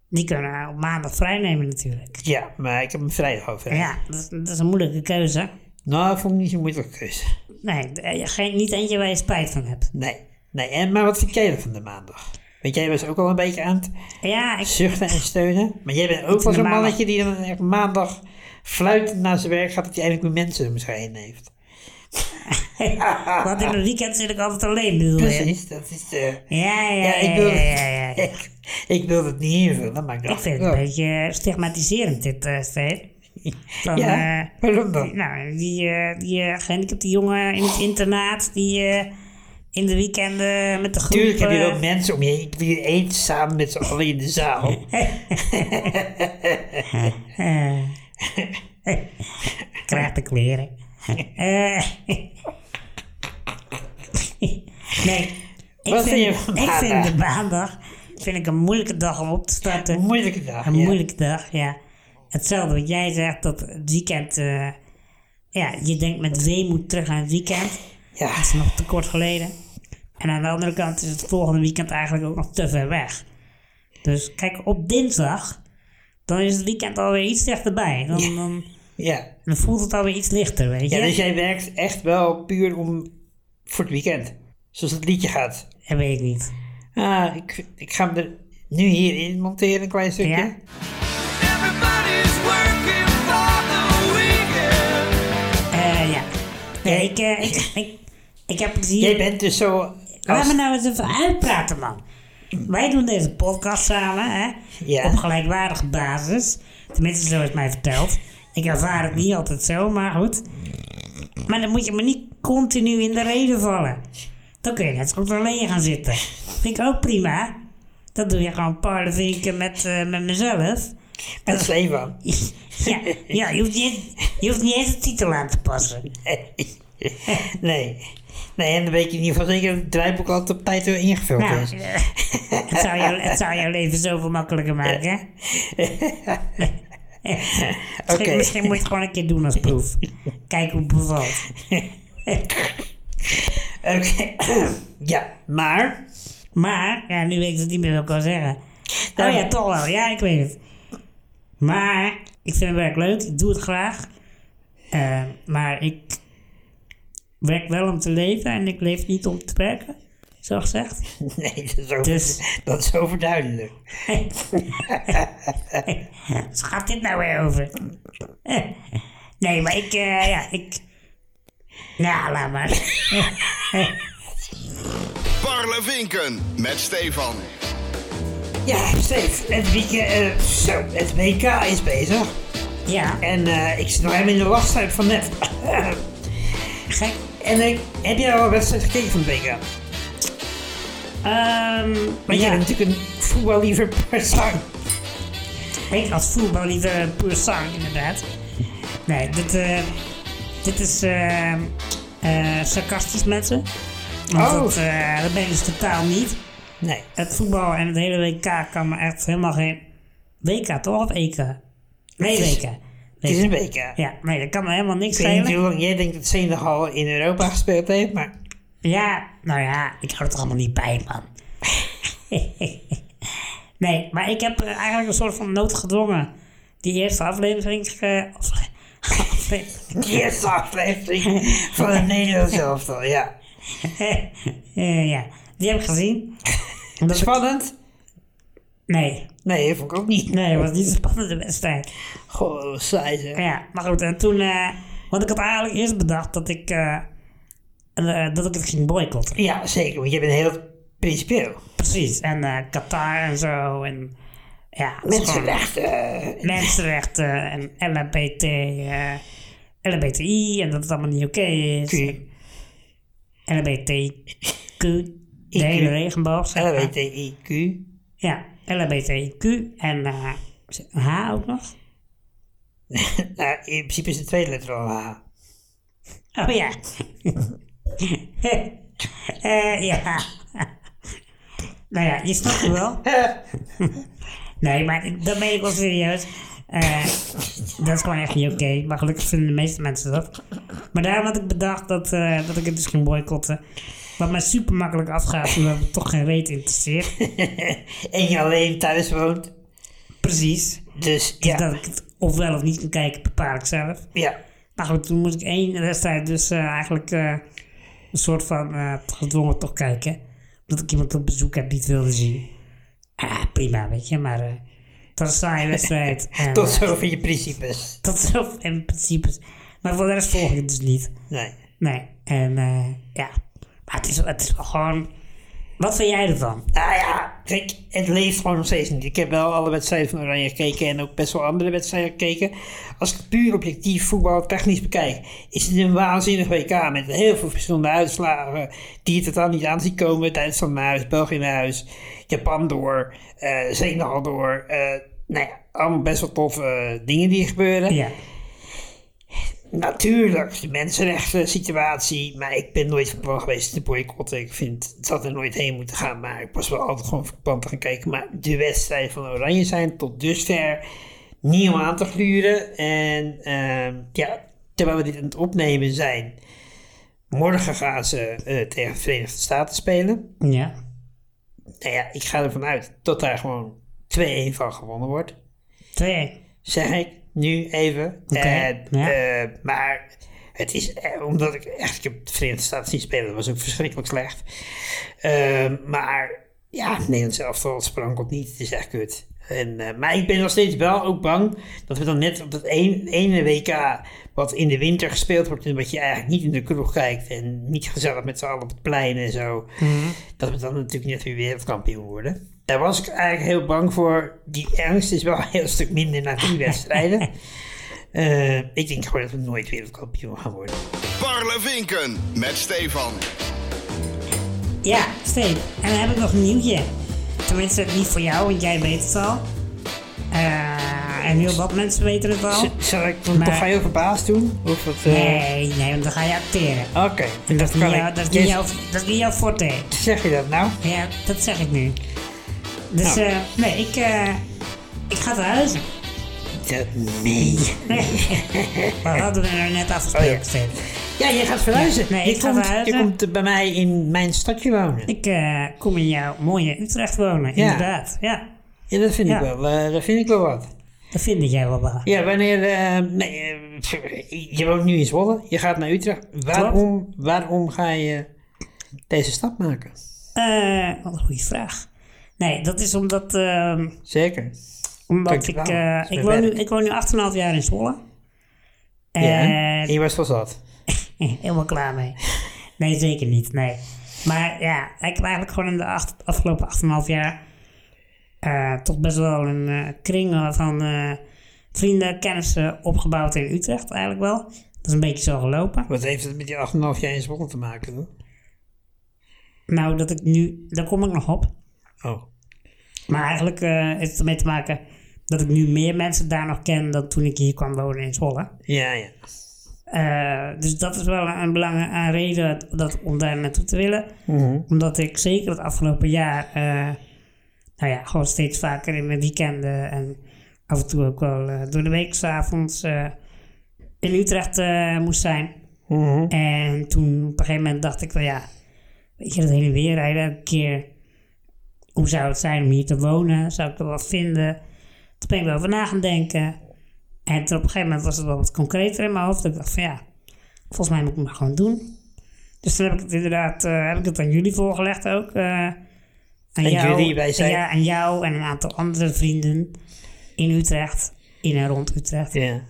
Speaker 1: Die kunnen op maandag vrij nemen natuurlijk.
Speaker 2: Ja, maar ik heb hem vrijdag over.
Speaker 1: Ja, dat, is- dat is een moeilijke keuze.
Speaker 2: Nou, dat vond ik niet zo moeilijk keuze.
Speaker 1: Nee, eh, geen, niet eentje waar je spijt van hebt.
Speaker 2: Nee, nee. En, maar wat vind jij dan van de maandag? Want jij was ook al een beetje aan het
Speaker 1: Ja, ik,
Speaker 2: zuchten en steunen. Maar jij bent ook wel
Speaker 1: de
Speaker 2: zo'n
Speaker 1: maandag.
Speaker 2: mannetje die dan echt maandag fluitend naar zijn werk gaat dat hij eindelijk weer mensen om zich heen heeft.
Speaker 1: want in het weekend zit ik altijd alleen, bedoel je?
Speaker 2: Ah, Precies, dat is de...
Speaker 1: Ja, ja, ja,
Speaker 2: Ja, ik
Speaker 1: ja,
Speaker 2: wil,
Speaker 1: ja, ja, ja.
Speaker 2: Ik, ik wil het niet invullen, maar
Speaker 1: Ik
Speaker 2: dacht, oh.
Speaker 1: vind het
Speaker 2: wel.
Speaker 1: een beetje eh, stigmatiserend, dit eh Steve. Van,
Speaker 2: Ja,
Speaker 1: eh,
Speaker 2: waarom dan?
Speaker 1: nou, die, eh, die eh, gehandicapte jongen in het internaat die eh, in de weekenden met de groep...
Speaker 2: Tuurlijk heb je
Speaker 1: eh,
Speaker 2: wel mensen om je heen. Je eet samen met z'n allen in de zaal.
Speaker 1: krijgt de kleren. Eh, nee, ik
Speaker 2: Wat vind je
Speaker 1: vind,
Speaker 2: van
Speaker 1: ik vind
Speaker 2: maandag?
Speaker 1: de maandag vind ik een moeilijke dag om op te starten.
Speaker 2: Een moeilijke dag.
Speaker 1: Een
Speaker 2: ja.
Speaker 1: moeilijke dag, ja. Hetzelfde wat jij zegt, dat het weekend... eh, ja, je denkt met weemoed terug aan het weekend.
Speaker 2: Ja,
Speaker 1: Dat is nog te kort geleden. En aan de andere kant is het volgende weekend eigenlijk ook nog te ver weg. Dus kijk, op dinsdag, dan is het weekend alweer iets dichterbij. Dan, dan,
Speaker 2: ja.
Speaker 1: dan voelt het alweer iets lichter, weet je.
Speaker 2: ja, dus jij werkt echt wel puur om, voor het weekend. Zoals het liedje gaat.
Speaker 1: Dat weet ik niet.
Speaker 2: Ah, ik, ik ga hem er nu hierin monteren, een klein stukje.
Speaker 1: Ja?
Speaker 5: Everybody's working for the weekend.
Speaker 1: Eh, ja. Nee, ik, eh, ik, ik, ik heb plezier...
Speaker 2: Jij bent dus zo...
Speaker 1: Laat
Speaker 2: als-
Speaker 1: me nou eens even uitpraten, man. Wij doen deze podcast samen, hè?
Speaker 2: Ja.
Speaker 1: Op gelijkwaardige basis. Tenminste, zo is mij verteld. Ik ervaar het niet altijd zo, maar goed. Maar dan moet je me niet continu in de reden vallen. Dan kun je net zo goed alleen gaan zitten. Vind ik ook prima. Dat doe je gewoon parlevinken met, eh, met mezelf.
Speaker 2: Het Sleevan.
Speaker 1: ja, ja je, hoeft niet, je hoeft niet eens de titel aan te passen.
Speaker 2: Nee. Nee, en dan weet je in ieder geval zeker dat het draaiboek altijd op tijd weer ingevuld
Speaker 1: Nou,
Speaker 2: is.
Speaker 1: eh, het, zou jou, het zou jouw leven zoveel makkelijker maken, hè?
Speaker 2: Oké.
Speaker 1: Misschien, misschien moet je het gewoon een keer doen als proef. Kijken hoe het bevalt.
Speaker 2: Oké. ja, maar...
Speaker 1: Maar, ja, nu weet ik het niet meer wat ik wil zeggen. Oh ja, toch wel. Ja, ik weet het. Maar, ik vind het werk leuk. Ik doe het graag. Eh, maar ik werk wel om te leven en ik leef niet om te werken. Zo gezegd.
Speaker 2: Nee, dat is, over,
Speaker 1: Dus-
Speaker 2: dat is overduidelijk.
Speaker 1: Dus gaat dit nou weer over? Eh, nee, maar ik, eh, ja, ik... Nou, laat maar.
Speaker 4: Parlevinken met Stefan.
Speaker 2: Ja, Steve, het, weekend, eh, zo, het WK is bezig.
Speaker 1: Ja,
Speaker 2: En eh, ik zit nog helemaal in de wachttijd van net.
Speaker 1: gek.
Speaker 2: en ik, heb jij al een wedstrijd gekeken van het WK?
Speaker 1: Ehm,
Speaker 2: Maar jij
Speaker 1: ja,
Speaker 2: bent natuurlijk een voetballiever persoon.
Speaker 1: ik als voetbal niet eh, puur sang, inderdaad. Nee, dit, eh, dit is eh, eh, sarcastisch, mensen. Want
Speaker 2: Oh.
Speaker 1: dat, eh, dat ben ik dus totaal niet.
Speaker 2: Nee.
Speaker 1: Het voetbal en het hele WK kan me echt helemaal geen... WK toch? Of EK? Nee,
Speaker 2: Het is-
Speaker 1: WK.
Speaker 2: Het is
Speaker 1: WK.
Speaker 2: een WK.
Speaker 1: Ja, nee, dat kan me helemaal niks
Speaker 2: Ik weet niet
Speaker 1: schelen.
Speaker 2: hoe lang jij denkt dat Senegal in Europa gespeeld heeft, maar
Speaker 1: Ja, nou ja, ik hou het er allemaal niet bij, man. nee, maar ik heb eh, eigenlijk een soort van noodgedwongen die eerste aflevering. eh, ge- afle- aflevering.
Speaker 2: de eerste aflevering van het Nederlands elftal, ja.
Speaker 1: Eh, ja, die heb ik gezien. Omdat ik-
Speaker 2: Spannend?
Speaker 1: nee,
Speaker 2: Nee, dat vond ik ook niet.
Speaker 1: nee, het was niet een spannende wedstrijd.
Speaker 2: Goh, saai zeg.
Speaker 1: Ja, maar goed, en toen. eh, want ik had eigenlijk eerst bedacht dat ik. eh, eh, dat ik het ging boycotten.
Speaker 2: Ja, zeker, want je bent heel principieel.
Speaker 1: Precies, en eh, Qatar en zo. En Ja,
Speaker 2: Mensenrechten.
Speaker 1: mensenrechten en LHBT, eh, LHBTI en dat het allemaal niet oké is. LHBTQ, de hele regenboog. zeg maar.
Speaker 2: LWTIQ.
Speaker 1: Ja, LHBTQ en eh, H ook nog.
Speaker 2: Nou, in principe is de tweede letter al eh, H.
Speaker 1: Oh ja. Eh, ja. nou ja, je snapt het wel. nee, maar ik- dat meen ik wel serieus. Eh, dat is gewoon echt niet oké. Maar gelukkig vinden de meeste mensen dat. Maar daarom had ik bedacht dat, eh, dat ik het dus ging boycotten. Wat mij super makkelijk afgaat, omdat het toch geen reet interesseert.
Speaker 2: En je alleen thuis woont.
Speaker 1: Precies.
Speaker 2: Dus
Speaker 1: Dus
Speaker 2: ja.
Speaker 1: dat ik het of wel of niet kan kijken, bepaal ik zelf.
Speaker 2: ja.
Speaker 1: Maar Nou goed, toen moest ik één wedstrijd dus eh, eigenlijk eh, een soort van eh, gedwongen toch kijken. Omdat ik iemand op bezoek heb die het wilde zien. Ah, prima, weet je. Maar eh het was een saaie wedstrijd. en,
Speaker 2: Tot
Speaker 1: eh,
Speaker 2: zover je principes.
Speaker 1: tot zo in principe. Maar voor de rest volg ik het dus niet.
Speaker 2: Nee.
Speaker 1: Nee. En eh, ja. Maar het is, het is wel gewoon... Wat vind jij ervan?
Speaker 2: Nou ja, kijk, het leeft gewoon nog steeds niet. Ik heb wel alle wedstrijden van Oranje gekeken en ook best wel andere wedstrijden gekeken. Als ik het puur objectief voetbal technisch bekijk, is het een waanzinnig WK met heel veel verschillende uitslagen die je totaal niet aan ziet komen. Duitsland naar huis, België naar huis, Japan door, eh Senegal door. eh, nou ja, allemaal best wel toffe eh, dingen die gebeuren.
Speaker 1: Ja.
Speaker 2: Natuurlijk, de mensenrechten situatie. Maar ik ben nooit van plan geweest te boycotten. Ik vind, het had er nooit heen moeten gaan. Maar ik was wel altijd gewoon van plan te gaan kijken. Maar de wedstrijden van Oranje zijn tot dusver niet om aan te gluren. En ehm, ja, terwijl we dit aan het opnemen zijn. Morgen gaan ze eh, tegen de Verenigde Staten spelen.
Speaker 1: Ja.
Speaker 2: Nou ja, ik ga ervan uit dat daar gewoon 2-1 van gewonnen wordt
Speaker 1: Twee.
Speaker 2: zeg ik nu even.
Speaker 1: Oké,
Speaker 2: Eh,
Speaker 1: ja.
Speaker 2: eh, maar het is, eh, omdat ik echt, ik heb de Verenigde Staten zien spelen, dat was ook verschrikkelijk slecht. Eh, maar ja, het Nederlands elftal sprankelt niet, het is echt kut. En, eh, maar ik ben nog steeds wel ook bang dat we dan net op dat een- ene WK wat in de winter gespeeld wordt en wat je eigenlijk niet in de kroeg kijkt en niet gezellig met z'n allen op het plein en zo,
Speaker 1: Mhm.
Speaker 2: dat we dan natuurlijk net weer wereldkampioen worden. Daar was ik eigenlijk heel bang voor. Die angst is wel een heel stuk minder na die wedstrijden. Eh, ik denk gewoon dat we nooit wereldkampioen gaan worden.
Speaker 4: Parlevinken met Stefan.
Speaker 1: Ja, Steve. En dan heb ik nog een nieuwtje. Tenminste, niet voor jou, want jij weet het al. Eh, en heel wat mensen weten het al.
Speaker 2: Z- zal ik dan
Speaker 1: Maar-
Speaker 2: toch heel verbaasd doen? Of wat, eh,
Speaker 1: Nee, nee, want dan ga je acteren.
Speaker 2: Oké,
Speaker 1: En dat, is niet
Speaker 2: kan
Speaker 1: jou,
Speaker 2: ik.
Speaker 1: dat, is niet
Speaker 2: Yes,
Speaker 1: jouw, dat is niet jouw forte.
Speaker 2: Zeg je dat nou?
Speaker 1: Ja, dat zeg ik nu. Dus
Speaker 2: Nou.
Speaker 1: eh, nee, ik, eh, ik ga naar huis.
Speaker 2: Dat nee.
Speaker 1: Maar hadden we er net afgesproken,
Speaker 2: Oh ja.
Speaker 1: Steve.
Speaker 2: Ja, je gaat verhuizen.
Speaker 1: Nee,
Speaker 2: je
Speaker 1: ik ga
Speaker 2: komt,
Speaker 1: verhuizen.
Speaker 2: Je komt eh, bij mij in mijn stadje wonen.
Speaker 1: Ik eh, kom in jouw mooie Utrecht wonen,
Speaker 2: Ja.
Speaker 1: inderdaad. Ja,
Speaker 2: Ja, dat vind,
Speaker 1: Ja.
Speaker 2: Ik wel, eh, dat vind ik wel wat.
Speaker 1: dat vind jij wel wel.
Speaker 2: Ja, wanneer... eh, nee, eh, pff, je woont nu in Zwolle. Je gaat naar Utrecht. Waarom, waarom ga je deze stap maken?
Speaker 1: Eh, wat een goede vraag. Nee, dat is omdat... ehm,
Speaker 2: Zeker.
Speaker 1: Omdat ik,
Speaker 2: Dankjewel.
Speaker 1: eh,
Speaker 2: Dat is
Speaker 1: ik,
Speaker 2: mijn
Speaker 1: woon nu,
Speaker 2: werk.
Speaker 1: ik woon nu 8,5 jaar in Zwolle. En
Speaker 2: Ja, en je was wel zat.
Speaker 1: helemaal klaar mee. Nee, zeker niet, nee. Maar ja, ik heb eigenlijk gewoon in de acht- afgelopen 8,5 jaar eh, toch best wel een eh, kring van eh, vrienden, kennissen opgebouwd in Utrecht eigenlijk wel. Dat is een beetje zo gelopen.
Speaker 2: Wat heeft het met die 8,5 jaar in Zwolle te maken? Hoor?
Speaker 1: Nou, dat ik nu, daar kom ik nog op.
Speaker 2: Oh.
Speaker 1: Maar eigenlijk eh, heeft het ermee te maken dat ik nu meer mensen daar nog ken dan toen ik hier kwam wonen in Zwolle.
Speaker 2: Ja, ja.
Speaker 1: Eh, dus dat is wel een belangrijke een reden dat, om daar naartoe te willen. Omdat ik zeker het afgelopen jaar, eh, nou ja, gewoon steeds vaker in mijn weekenden en af en toe ook wel eh, door de week s'avonds eh in Utrecht eh, moest zijn.
Speaker 2: Mhm.
Speaker 1: En toen op een gegeven moment dacht ik van ja, weet je, dat heen en weer rijden elke keer. Hoe zou het zijn om hier te wonen? Zou ik er wat vinden? Toen ben ik erover na gaan denken. En toen op een gegeven moment was het wel wat concreter in mijn hoofd. Ik dacht van ja, volgens mij moet ik het maar gewoon doen. Dus toen heb ik het inderdaad eh, heb ik het aan jullie voorgelegd ook. eh, aan
Speaker 2: En jullie, wij zijn-
Speaker 1: Ja, aan jou en een aantal andere vrienden in Utrecht, in en rond Utrecht.
Speaker 2: Ja.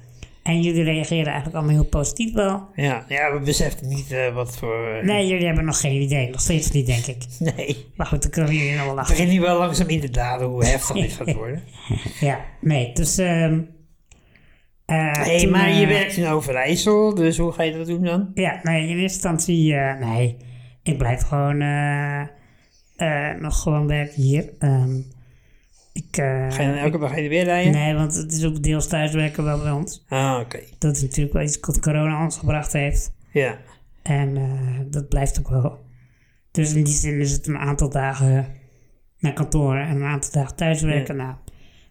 Speaker 1: En jullie reageerden eigenlijk allemaal heel positief wel.
Speaker 2: Ja, ja we beseften niet eh, wat voor... eh,
Speaker 1: Nee, jullie hebben nog geen idee. Nog steeds niet, denk ik.
Speaker 2: nee. Ik
Speaker 1: Maar goed, dan kunnen jullie nog wel achter.
Speaker 2: begin nu wel langzaam in te dalen hoe heftig dit gaat worden.
Speaker 1: Ja, nee. Dus, ehm eh,
Speaker 2: Hé,
Speaker 1: toen,
Speaker 2: maar je
Speaker 1: eh,
Speaker 2: werkt in Overijssel, dus hoe ga je dat doen dan?
Speaker 1: Ja, nee, in eerste instantie, eh, nee, ik blijf gewoon eh, eh, nog gewoon werken hier. Ehm, ik, eh,
Speaker 2: Ga je dan elke dag heen en weer rijden?
Speaker 1: nee, want het is ook deels thuiswerken wel bij ons.
Speaker 2: Ah, oké.
Speaker 1: Dat is natuurlijk wel iets wat corona ons gebracht heeft.
Speaker 2: Ja.
Speaker 1: En eh, dat blijft ook wel. Dus in die zin is het een aantal dagen naar kantoor en een aantal dagen thuiswerken. Nou,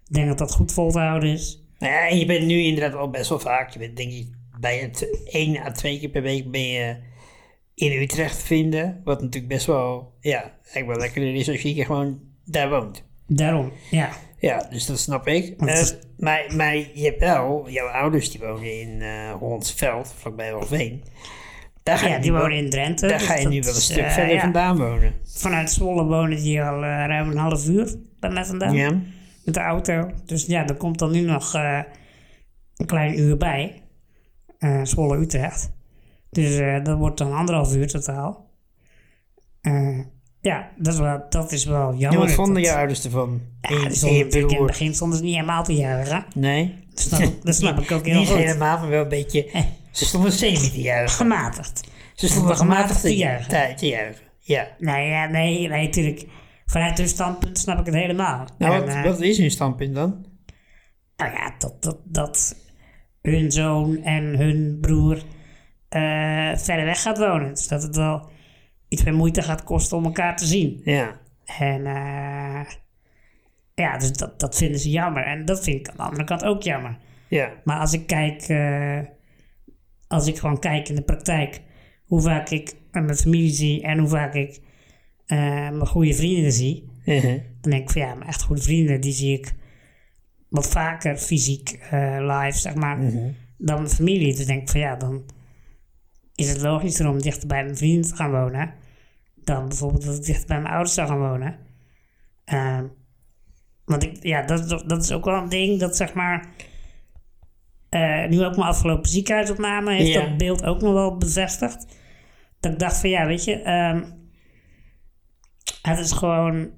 Speaker 1: ik denk dat dat goed vol te houden is.
Speaker 2: Nou ja, en je bent nu inderdaad al best wel vaak. Je bent denk ik bij het één à twee keer per week ben je in Utrecht te vinden. Wat natuurlijk best wel, ja, eigenlijk wel lekkerder is als je hier gewoon daar woont.
Speaker 1: Daarom, ja.
Speaker 2: Ja, dus dat snap ik.
Speaker 1: Want het
Speaker 2: Eh, maar, maar je hebt wel, jouw ouders die wonen in eh Hollandsveld, vlakbij Walveen. Daar ga
Speaker 1: Ja,
Speaker 2: je
Speaker 1: die
Speaker 2: nu
Speaker 1: wonen
Speaker 2: wel-
Speaker 1: in Drenthe.
Speaker 2: Daar
Speaker 1: dus
Speaker 2: ga je
Speaker 1: dat
Speaker 2: nu wel een
Speaker 1: is,
Speaker 2: stuk
Speaker 1: eh,
Speaker 2: verder
Speaker 1: ja.
Speaker 2: vandaan wonen.
Speaker 1: Vanuit Zwolle wonen die al eh, ruim een half uur bij mij vandaan.
Speaker 2: Ja.
Speaker 1: Met de auto. Dus ja, er komt dan nu nog eh, een klein uur bij. Eh, Zwolle-Utrecht. Dus eh, dat wordt dan anderhalf uur totaal. Eh, ja, dat is wel, dat is wel
Speaker 2: En
Speaker 1: jammer.
Speaker 2: wat vonden
Speaker 1: Dat-
Speaker 2: jouw ouders ervan?
Speaker 1: Ja, die stonden natuurlijk in het begin stonden ze niet helemaal te juichen.
Speaker 2: Nee?
Speaker 1: Dat snap, ik- dat snap ik ook heel
Speaker 2: Niet
Speaker 1: goed.
Speaker 2: helemaal, maar wel een beetje... Ze stonden semi te juichen.
Speaker 1: Gematigd.
Speaker 2: Ze stonden gematigd te juichen.
Speaker 1: juichen.
Speaker 2: te juichen. Ja.
Speaker 1: Nee, ja, nee, nee, natuurlijk. Vanuit hun standpunt snap ik het helemaal.
Speaker 2: Nou,
Speaker 1: En,
Speaker 2: wat,
Speaker 1: eh,
Speaker 2: wat is hun standpunt dan?
Speaker 1: Nou ja, dat, dat, dat hun zoon en hun broer eh, verder weg gaat wonen. Dus dat het wel iets meer moeite gaat kosten om elkaar te zien.
Speaker 2: Ja.
Speaker 1: En eh, ja, dus dat, dat vinden ze jammer. En dat vind ik aan de andere kant ook jammer.
Speaker 2: Ja.
Speaker 1: Maar als ik kijk, eh, als ik gewoon kijk in de praktijk, hoe vaak ik eh, mijn familie zie en hoe vaak ik eh, mijn goede vrienden zie,
Speaker 2: Mhm.
Speaker 1: dan denk ik van ja, mijn echt goede vrienden, die zie ik wat vaker fysiek eh, live, zeg maar, dan mijn familie. Dus denk ik van ja, dan is het logischer om dichter bij mijn vrienden te gaan wonen, dan bijvoorbeeld dat ik dichter bij mijn ouders zou gaan wonen. Ehm, want ik, ja, dat, is ook- dat is ook wel een ding dat zeg maar. eh, nu ook mijn afgelopen ziekenhuisopname heeft
Speaker 2: Ja.
Speaker 1: dat beeld ook nog wel bevestigd. Dat ik dacht van ja, weet je, ehm, het is gewoon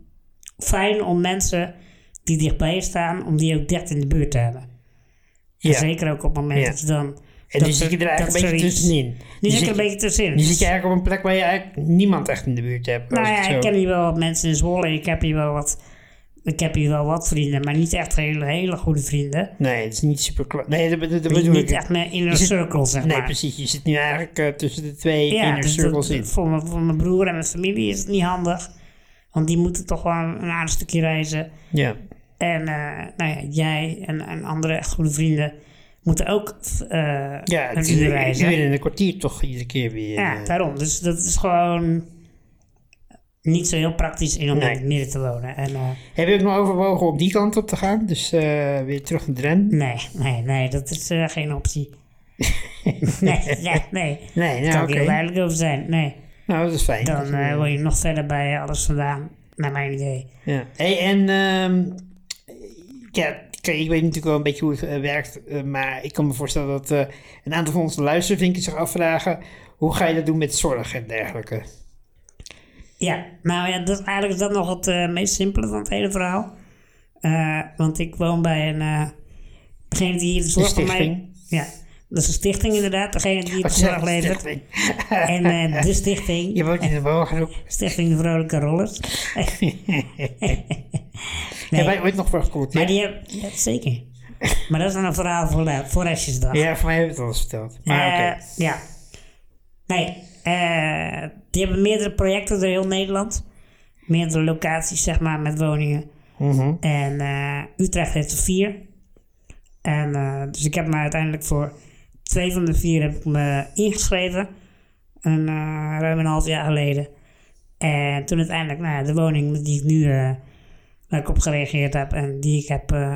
Speaker 1: fijn om mensen die dichtbij je staan, om die ook dicht in de buurt te hebben. En
Speaker 2: Ja.
Speaker 1: Zeker ook op het moment
Speaker 2: Ja.
Speaker 1: dat je dan...
Speaker 2: En
Speaker 1: dat
Speaker 2: nu zit je er eigenlijk een beetje
Speaker 1: zoiets-
Speaker 2: tussenin.
Speaker 1: Nu zit ik
Speaker 2: je-
Speaker 1: er een beetje tussenin.
Speaker 2: nu zit je eigenlijk op een plek waar je eigenlijk niemand echt in de buurt hebt.
Speaker 1: Nou
Speaker 2: als
Speaker 1: ja,
Speaker 2: het zo-
Speaker 1: ik ken hier wel wat mensen in Zwolle. Ik heb hier wel wat, ik heb hier wel wat vrienden, maar niet echt hele, hele goede vrienden.
Speaker 2: Nee, het is niet super klaar. Nee, dat, dat, dat
Speaker 1: Niet,
Speaker 2: bedoel ik.
Speaker 1: niet echt mijn inner
Speaker 2: Je zit-
Speaker 1: circle, zeg
Speaker 2: nee,
Speaker 1: maar.
Speaker 2: precies. Je zit nu eigenlijk eh, tussen de twee
Speaker 1: Ja,
Speaker 2: inner
Speaker 1: dus dat-
Speaker 2: circles in.
Speaker 1: voor, mijn, voor mijn broer en mijn familie is het niet handig. Want die moeten toch wel een aardig stukje reizen.
Speaker 2: Ja.
Speaker 1: En eh, nou ja, jij en, en andere echt goede vrienden moeten ook eh
Speaker 2: Ja, het
Speaker 1: een
Speaker 2: is een
Speaker 1: uur
Speaker 2: een
Speaker 1: reizen.
Speaker 2: uur en een kwartier toch iedere keer weer.
Speaker 1: Ja,
Speaker 2: eh,
Speaker 1: daarom. Dus dat is gewoon niet zo heel praktisch in om
Speaker 2: Nee.
Speaker 1: in het midden te wonen. En, eh,
Speaker 2: Heb je ook nog overwogen om die kant op te gaan? Dus eh, weer terug naar Drenthe?
Speaker 1: nee, nee, nee, dat is eh, geen optie. nee, ja, nee. Daar
Speaker 2: Nee,
Speaker 1: kan
Speaker 2: nou
Speaker 1: ik
Speaker 2: oké.
Speaker 1: heel duidelijk over zijn. Nee,
Speaker 2: Nou, dat is fijn.
Speaker 1: dan
Speaker 2: Dat is, eh,
Speaker 1: eh word je nog verder bij alles vandaan, naar mijn idee.
Speaker 2: Ja. Hey, en ehm, ja, kijk, ik weet natuurlijk wel een beetje hoe het eh, werkt, eh, maar ik kan me voorstellen dat eh, een aantal van onze luistervinkers zich afvragen hoe ga je dat doen met zorg en dergelijke.
Speaker 1: Ja, nou ja, dat, eigenlijk is dat nog het eh, meest simpele van het hele verhaal. Eh, want ik woon bij een. eh degene die hier de zorg voor mij.
Speaker 2: stichting.
Speaker 1: Ja, dat is een stichting inderdaad. Degene die hier de
Speaker 2: Wat zeg
Speaker 1: zorg
Speaker 2: ik?
Speaker 1: levert. En eh, de stichting.
Speaker 2: Je woont in een woongroep.
Speaker 1: Stichting de Vrolijke Rollers.
Speaker 2: Heb
Speaker 1: nee,
Speaker 2: jij ooit nog voor geconteerd?
Speaker 1: maar die heb, ja, zeker. Maar dat is dan een verhaal voor, eh, voor Esjesdag.
Speaker 2: Ja, voor mij heb je het al eens verteld. Maar
Speaker 1: Eh,
Speaker 2: oké.
Speaker 1: Ja. Nee, eh, die hebben meerdere projecten door heel Nederland. Meerdere locaties, zeg maar, met woningen.
Speaker 2: Mhm.
Speaker 1: En eh, Utrecht heeft er vier. En, eh, dus ik heb me uiteindelijk voor twee van de vier heb ik me ingeschreven. Een, eh, ruim een half jaar geleden. En toen uiteindelijk, nou ja, de woning die ik nu, eh, waar ik op gereageerd heb en die ik heb eh,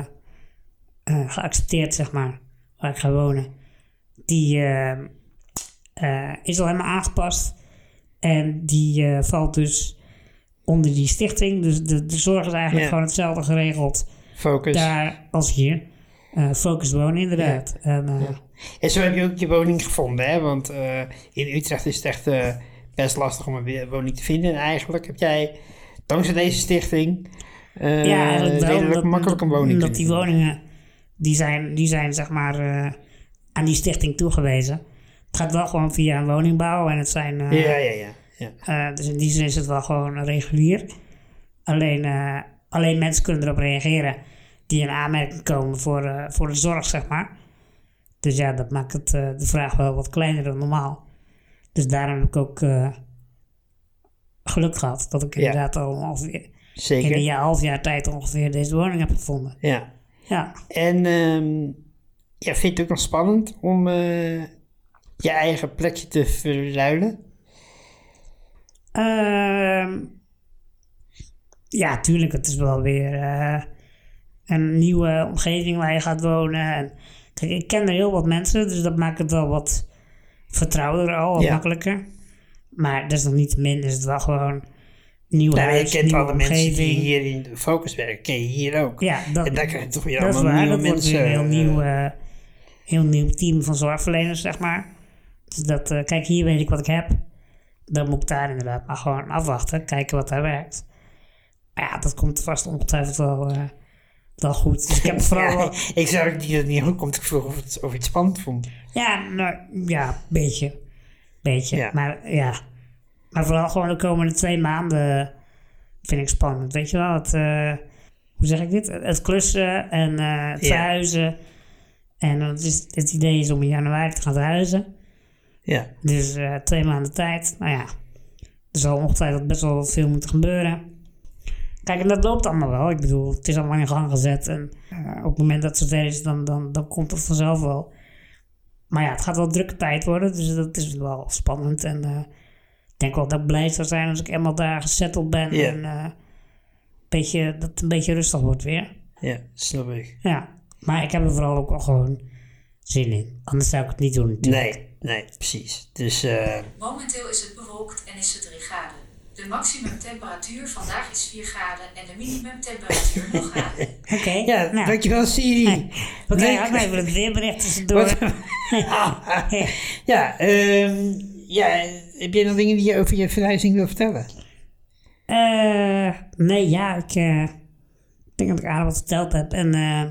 Speaker 1: eh, geaccepteerd, zeg maar, waar ik ga wonen die eh, eh, is al helemaal aangepast. En die eh, valt dus onder die stichting. Dus de, de zorg is eigenlijk
Speaker 2: Ja. Dus-
Speaker 1: gewoon hetzelfde geregeld
Speaker 2: Focus.
Speaker 1: daar als hier. eh, focus wonen inderdaad. En, eh,
Speaker 2: En zo heb je ook je woning gevonden, hè? Want eh, in Utrecht is het echt eh, best lastig om een we- woning te vinden. En eigenlijk heb jij, dankzij deze stichting, eh
Speaker 1: ja, eigenlijk wel.
Speaker 2: redelijk
Speaker 1: omdat-
Speaker 2: makkelijk een woning
Speaker 1: Omdat
Speaker 2: kunnen
Speaker 1: die
Speaker 2: vinden.
Speaker 1: woningen, die zijn, die zijn zeg maar eh, aan die stichting toegewezen. Het gaat wel gewoon via een woningbouw en het zijn... eh,
Speaker 2: Ja, ja, ja. ja.
Speaker 1: eh, dus in die zin is het wel gewoon regulier. Alleen, eh, alleen mensen kunnen erop reageren die in aanmerking komen voor, eh, voor de zorg, zeg maar. Dus ja, dat maakt het, eh, de vraag wel wat kleiner dan normaal. Dus daarom heb ik ook eh, geluk gehad dat ik inderdaad al ongeveer in
Speaker 2: Zeker.
Speaker 1: een jaar, half jaar tijd ongeveer deze woning heb gevonden.
Speaker 2: Ja.
Speaker 1: Ja,
Speaker 2: En ehm, ja, vind je het ook nog spannend om eh, je eigen plekje te verruilen?
Speaker 1: Ehm, ja, tuurlijk. Het is wel weer eh, een nieuwe omgeving waar je gaat wonen. En, kijk, ik ken er heel wat mensen, dus dat maakt het wel wat vertrouwder al, wat
Speaker 2: Ja.
Speaker 1: makkelijker. Maar desalniettemin is dus het wel gewoon nieuw
Speaker 2: Nou, je
Speaker 1: huis,
Speaker 2: kent
Speaker 1: nieuwe
Speaker 2: wel de mensen die
Speaker 1: omgeving.
Speaker 2: hier in de focus werken, ken je hier ook.
Speaker 1: ja, dat,
Speaker 2: en daar krijg je toch weer
Speaker 1: dat is
Speaker 2: allemaal
Speaker 1: waar.
Speaker 2: nieuwe
Speaker 1: Dat wordt weer
Speaker 2: mensen.
Speaker 1: een heel nieuw,
Speaker 2: eh,
Speaker 1: eh, heel nieuw team van zorgverleners, zeg maar. Dus dat, eh, kijk, hier weet ik wat ik heb. Dan moet ik daar inderdaad maar gewoon afwachten. Kijken wat daar werkt. Maar ja, dat komt vast ongetwijfeld wel, eh, wel goed. Dus ik heb vooral...
Speaker 2: ja,
Speaker 1: wel-
Speaker 2: ik zou ook niet dat het niet goed komt. Ik vroeg of, het, of je het spannend vond.
Speaker 1: Ja, nou, ja, beetje. Beetje,
Speaker 2: Ja.
Speaker 1: maar ja. Maar vooral gewoon de komende twee maanden vind ik spannend. Weet je wel, het, eh, hoe zeg ik dit? Het klussen en eh, het
Speaker 2: Ja.
Speaker 1: verhuizen. En het, is, het idee is om in januari te gaan verhuizen.
Speaker 2: Ja,
Speaker 1: Dus eh, twee maanden tijd. Nou ja, er zal ongetwijfeld best wel veel moeten gebeuren. Kijk, en dat loopt allemaal wel. Ik bedoel, het is allemaal in gang gezet. En eh, op het moment dat het zover is, dan, dan, dan komt het vanzelf wel. Maar ja, het gaat wel een drukke tijd worden. Dus dat is wel spannend. En eh, ik denk wel dat ik blij zou zijn als ik eenmaal daar gezetteld ben.
Speaker 2: Ja.
Speaker 1: En eh, een beetje, dat het een beetje rustig wordt weer.
Speaker 2: ja, snap ik.
Speaker 1: Ja, maar ik heb er vooral ook wel gewoon zin in. Anders zou ik het niet doen natuurlijk.
Speaker 2: Nee, nee, precies. Dus eh,
Speaker 6: Momenteel is het bewolkt en is het 3 graden. De maximumtemperatuur vandaag is 4 graden en de minimumtemperatuur 0 graden.
Speaker 1: Oké,
Speaker 2: ja,
Speaker 1: nou.
Speaker 2: dankjewel Siri.
Speaker 1: Oké,
Speaker 2: Nee,
Speaker 1: hou maar even het weerbericht tussendoor.
Speaker 2: Wat- ja, ehm, ja, heb jij nog dingen die je over je verhuizing wil vertellen?
Speaker 1: Eh, nee, ja, ik eh, denk dat ik aardig wat verteld heb. En eh,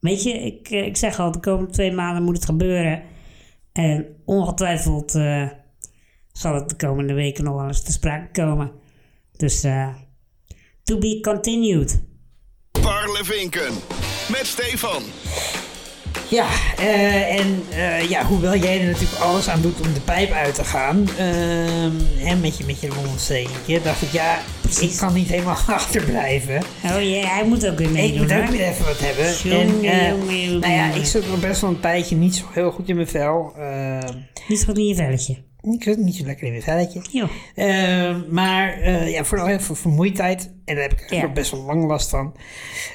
Speaker 1: weet je, ik, eh, ik zeg al, de komende twee maanden moet het gebeuren. En ongetwijfeld eh, zal het de komende weken nog wel eens te sprake komen. Dus eh, to be continued.
Speaker 4: Parlevinken met Stefan.
Speaker 2: Ja, eh, en eh, ja, hoewel jij er natuurlijk alles aan doet om de pijp uit te gaan, ehm, en met je, met je longontstekentje, dacht ik, ja, ik kan niet helemaal achterblijven.
Speaker 1: Oh ja, hij moet ook weer
Speaker 2: Ik
Speaker 1: meedoen.
Speaker 2: moet ook
Speaker 1: hoor.
Speaker 2: weer even wat hebben. en,
Speaker 1: Jongen,
Speaker 2: eh,
Speaker 1: jongen, jongen.
Speaker 2: nou ja, ik zit nog best wel een tijdje niet zo heel goed in mijn vel. Ehm,
Speaker 1: Niet goed in je velletje.
Speaker 2: ik zit niet zo lekker in mijn velletje.
Speaker 1: Joh.
Speaker 2: Ehm, maar eh, ja, vooral heel veel vermoeidheid. En daar heb ik eigenlijk
Speaker 1: Ja.
Speaker 2: ook best wel lang last van.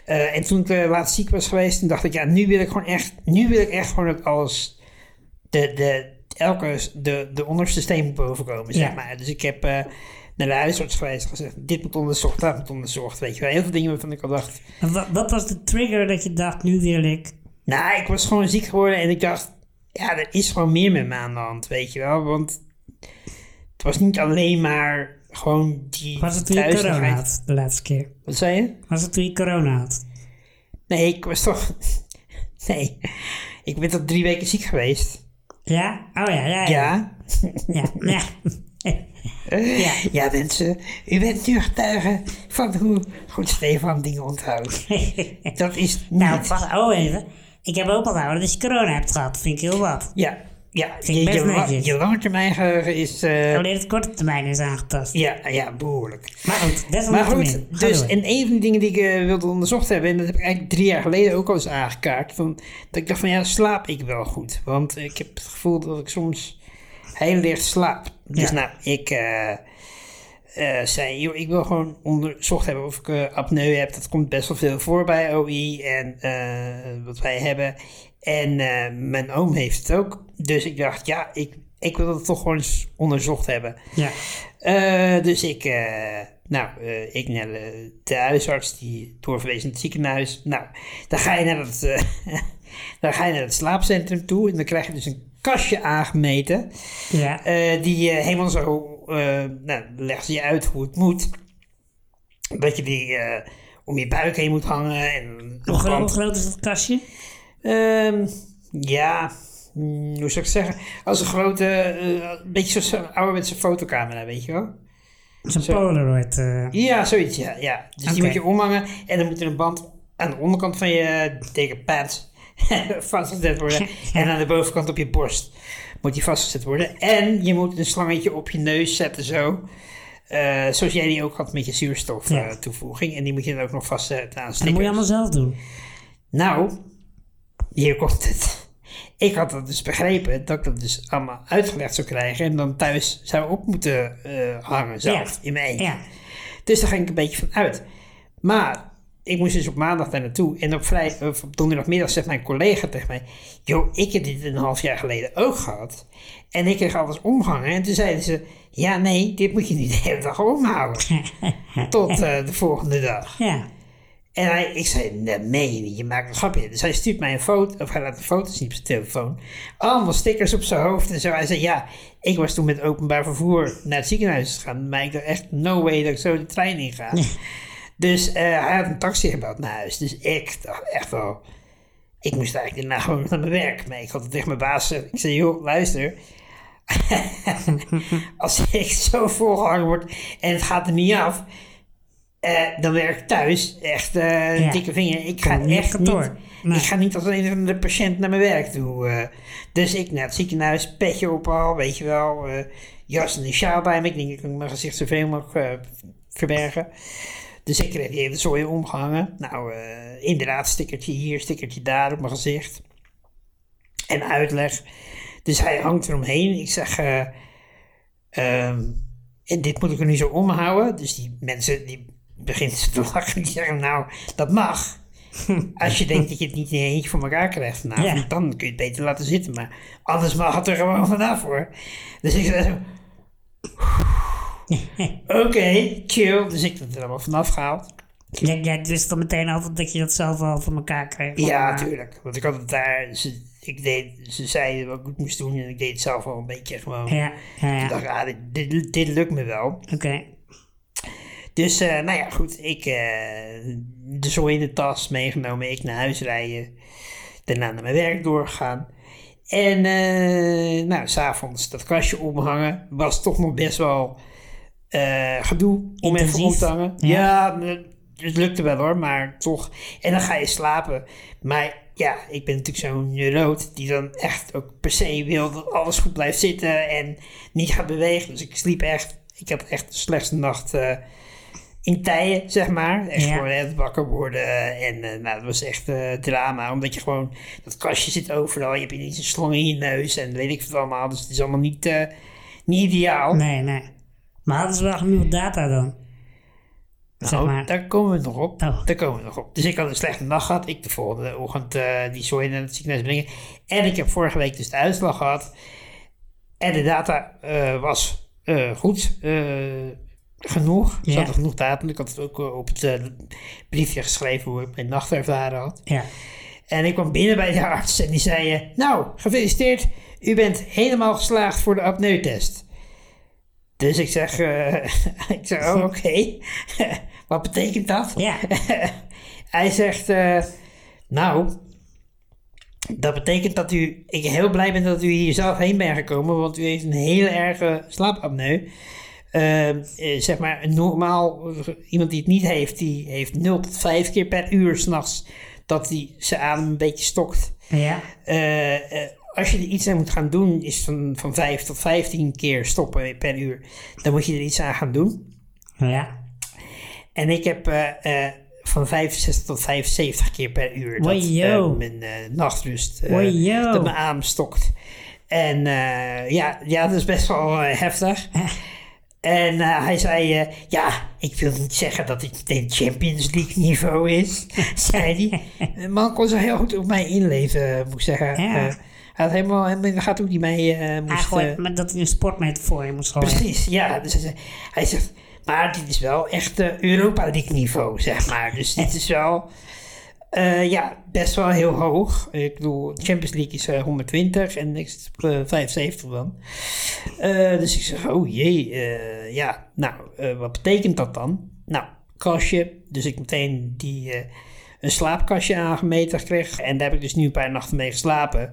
Speaker 2: Eh, en toen ik eh, laatst ziek was geweest, toen dacht ik, ja, nu wil ik gewoon echt, nu wil ik echt gewoon dat alles, de, de, elke, s- de, de onderste steen moet bovenkomen, zeg
Speaker 1: Ja.
Speaker 2: maar. Dus ik heb eh, naar de huisarts geweest en gezegd, dit moet onderzocht, dat moet onderzocht, weet je wel. Heel veel dingen waarvan ik al dacht,
Speaker 1: Maar Wat, wat was de trigger dat je dacht, nu wil ik...
Speaker 2: nou, ik was gewoon ziek geworden en ik dacht, ja, er is gewoon meer met me aan de hand, weet je wel. Want het was niet alleen maar gewoon die
Speaker 1: Was het toen je
Speaker 2: duizeligheid.
Speaker 1: corona had, de laatste keer?
Speaker 2: Wat zei je?
Speaker 1: Was het toen je corona had?
Speaker 2: Nee, ik was toch... Nee, ik ben toch drie weken ziek geweest.
Speaker 1: Ja? Oh ja, ja. Ja.
Speaker 2: Ja,
Speaker 1: Ja, ja. ja.
Speaker 2: ja mensen, u bent nu getuige van hoe goed Stefan dingen onthoudt. Dat is niet...
Speaker 1: nou, wacht, oh even. Ik heb ook onthouden dat je corona hebt gehad. Vind ik heel wat.
Speaker 2: ja, ja,
Speaker 1: ik
Speaker 2: je,
Speaker 1: best
Speaker 2: je, la-
Speaker 1: netjes. Oh,
Speaker 2: je langetermijngeheugen is... eh,
Speaker 1: Alleen het korte termijn is aangetast.
Speaker 2: ja, ja, behoorlijk.
Speaker 1: Maar goed,
Speaker 2: Maar
Speaker 1: desalniettemin.
Speaker 2: goed,
Speaker 1: Ga
Speaker 2: dus,
Speaker 1: door.
Speaker 2: en een van de dingen die ik eh, wilde onderzocht hebben, en dat heb ik eigenlijk drie jaar geleden ook al eens aangekaart, van, dat ik dacht van ja, slaap ik wel goed? Want ik heb het gevoel dat ik soms heel licht slaap. Dus
Speaker 1: Ja.
Speaker 2: nou, ik eh, eh, zei, joh, ik wil gewoon onderzocht hebben of ik eh, apneu heb. Dat komt best wel veel voor bij OI en eh, wat wij hebben. En eh, mijn oom heeft het ook. Dus ik dacht, ja, ik, ik wil dat toch gewoon eens onderzocht hebben.
Speaker 1: Ja.
Speaker 2: Eh, dus ik eh, Nou, eh, ik naar de, de huisarts, die doorverwees naar het ziekenhuis. Nou, dan ga je naar het, eh, dan ga je naar het slaapcentrum toe en dan krijg je dus een kastje aangemeten.
Speaker 1: Ja.
Speaker 2: Eh, die eh, helemaal zo, eh nou, legt ze je uit hoe het moet. Dat je die eh, om je buik heen moet hangen en een
Speaker 1: Hoe gro- hoe
Speaker 2: band.
Speaker 1: groot is dat kastje?
Speaker 2: Ehm, ja, mm, hoe zou ik zeggen? Als een grote, eh, een beetje zo'n ouderwetse fotocamera, weet je wel?
Speaker 1: Zo'n
Speaker 2: Zo.
Speaker 1: Polaroid. eh,
Speaker 2: Ja, zoiets, ja. ja. Dus die
Speaker 1: Oké.
Speaker 2: moet je omhangen en dan moet er een band aan de onderkant van je dekkenpads vastgezet worden. En aan de bovenkant op je borst moet die vastgezet worden. En je moet een slangetje op je neus zetten, zo. Eh, zoals jij die ook had met je zuurstof
Speaker 1: Ja.
Speaker 2: eh, toevoeging. En die moet je dan ook nog vastzetten
Speaker 1: en dat
Speaker 2: aan
Speaker 1: moet
Speaker 2: stickers.
Speaker 1: je allemaal zelf doen.
Speaker 2: Nou, hier komt het. Ik had dat dus begrepen, dat ik dat dus allemaal uitgelegd zou krijgen en dan thuis zou op moeten eh, hangen zelf,
Speaker 1: Ja.
Speaker 2: in mijn eentje.
Speaker 1: Ja.
Speaker 2: Dus daar ging ik een beetje van uit. Maar ik moest dus op maandag daar naartoe en op, vrij, of op donderdagmiddag zegt mijn collega tegen mij, joh, ik heb dit een half jaar geleden ook gehad en ik kreeg alles omhangen. En toen zeiden ze, ja nee, dit moet je niet de hele dag omhouden tot eh, de volgende dag.
Speaker 1: Ja.
Speaker 2: En hij, ik zei, nee, meen je niet, je maakt een grapje. Dus hij stuurt mij een foto, of hij laat de foto's zien op zijn telefoon. Allemaal stickers op zijn hoofd en zo. Hij zei, ja, ik was toen met openbaar vervoer naar het ziekenhuis gegaan. Maar ik dacht echt, no way dat ik zo de trein in ga. dus eh, hij had een taxi gebeld naar huis. Dus ik dacht echt wel, ik moest eigenlijk daarna gewoon naar mijn werk. Maar ik had het tegen mijn baas gezegd. Ik zei, joh, luister. Als ik zo volgehangen word en het gaat er niet af... eh, dan werk ik thuis. Echt eh,
Speaker 1: Ja.
Speaker 2: dikke vinger. Ik ga
Speaker 1: Kom niet op
Speaker 2: echt
Speaker 1: kantoor.
Speaker 2: niet...
Speaker 1: Nee.
Speaker 2: Ik ga niet als een van de patiënt naar mijn werk toe. eh. dus ik naar het ziekenhuis, petje op al, weet je wel. eh, jas en een sjaal bij me. Ik denk, ik kan mijn gezicht zoveel mogelijk eh, verbergen. Dus ik kreeg even zooi omgehangen. Nou, eh, inderdaad, stickertje hier, stickertje daar op mijn gezicht. En uitleg. Dus hij hangt eromheen. Ik zeg, eh, ehm, en dit moet ik er nu zo omhouden. Dus die mensen, die beginnen te lachen. Die zeggen, nou, dat mag. Als je denkt dat je het niet in je eentje voor elkaar krijgt vanavond,
Speaker 1: Ja.
Speaker 2: dan kun je het beter laten zitten. Maar anders mag het er gewoon vanaf hoor. Dus ik zei zo, oké, chill. Dus ik heb het er allemaal vanaf gehaald.
Speaker 1: Jij, jij wist dan meteen altijd dat je dat zelf al voor elkaar kreeg.
Speaker 2: Ja,
Speaker 1: Maar-
Speaker 2: tuurlijk. Want ik had het daar. Ze, ik deed, ze zeiden wat ik moest doen en ik deed het zelf al een beetje gewoon.
Speaker 1: Ja, ja,
Speaker 2: Ik
Speaker 1: ja.
Speaker 2: dacht, ah, dit, dit, dit lukt me wel.
Speaker 1: Oké.
Speaker 2: Dus, eh, nou ja, goed. Ik eh, de zooi in de tas meegenomen. Ik naar huis rijden. Daarna naar mijn werk doorgaan. En, eh nou, s'avonds dat kastje omhangen. Was toch nog best wel eh, gedoe om even
Speaker 1: Intensief.
Speaker 2: om te hangen.
Speaker 1: Ja.
Speaker 2: Ja, me- het lukte wel hoor, maar toch. En dan ga je slapen. Maar ja, ik ben natuurlijk zo'n neuroot die dan echt ook per se wil dat alles goed blijft zitten en niet gaat bewegen. Dus ik sliep echt, ik heb echt de slechtste nacht eh, in tijden, zeg maar. Echt
Speaker 1: Ja.
Speaker 2: gewoon echt wakker worden. En eh, nou, dat was echt eh, drama, omdat je gewoon, dat kastje zit overal. Je hebt ineens een slang in je neus en weet ik wat allemaal. Dus het is allemaal niet, eh, niet ideaal.
Speaker 1: Nee, nee. Maar hadden ze wel genoeg data dan? zeg
Speaker 2: Nou,
Speaker 1: maar.
Speaker 2: daar komen we nog op.
Speaker 1: Oh.
Speaker 2: Daar komen we nog op. Dus ik had een slechte nacht gehad. Ik de volgende ochtend eh, die zooi naar het ziekenhuis brengen. En ik heb vorige week dus de uitslag gehad. En de data eh, was eh, goed eh, genoeg. Er
Speaker 1: Ja.
Speaker 2: zat genoeg data. Ik had het ook eh, op het eh, briefje geschreven hoe ik mijn nacht ervaren had.
Speaker 1: Ja.
Speaker 2: En ik kwam binnen bij de arts en die zei... eh, nou, gefeliciteerd. U bent helemaal geslaagd voor de apneutest. Dus ik zeg... eh, ik zeg, oh, oké. Wat betekent dat?
Speaker 1: Ja.
Speaker 2: Hij zegt... eh, nou, dat betekent dat u... Ik heel blij ben dat u hier zelf heen bent gekomen... want u heeft een hele erge slaapapneu. Ehm, eh, zeg maar, een normaal, eh, iemand die het niet heeft, die heeft 0 tot 5 keer per uur s'nachts dat hij zijn adem een beetje stokt.
Speaker 1: Ja.
Speaker 2: Eh, eh, als je er iets aan moet gaan doen, is van, van 5 tot 15 keer stoppen per uur, dan moet je er iets aan gaan doen.
Speaker 1: Ja.
Speaker 2: En ik heb eh, eh, van 65 tot 75 keer per uur dat
Speaker 1: Wajo.
Speaker 2: eh, mijn eh, nachtrust, eh,
Speaker 1: Wajo.
Speaker 2: dat mijn adem stokt. En eh, ja, ja, dat is best wel eh, heftig. En eh, hij zei, eh, ja, ik wil niet zeggen dat het meteen Champions League niveau is, zei hij. De man kon zich heel goed op mij inleven, eh, moet ik zeggen.
Speaker 1: Ja.
Speaker 2: Eh, hij had helemaal, helemaal in de gaten hoe hij mij eh, moest...
Speaker 1: Eigenlijk
Speaker 2: eh,
Speaker 1: maar dat hij een sportmetafoor in moest gooien.
Speaker 2: precies, ja. Dus eh, hij, zei, hij zegt, Maar dit is wel echt eh, Europa League niveau, zeg maar. Dus dit is wel eh, ja, best wel heel hoog. Ik bedoel, Champions League is eh, 120 en ik zit op eh, 75 dan. Eh, dus ik zeg, oh jee, eh, ja, nou, eh, wat betekent dat dan? Nou, kastje. Dus ik meteen die, eh, een slaapkastje aangemeten kreeg. En daar heb ik dus nu een paar nachten mee geslapen.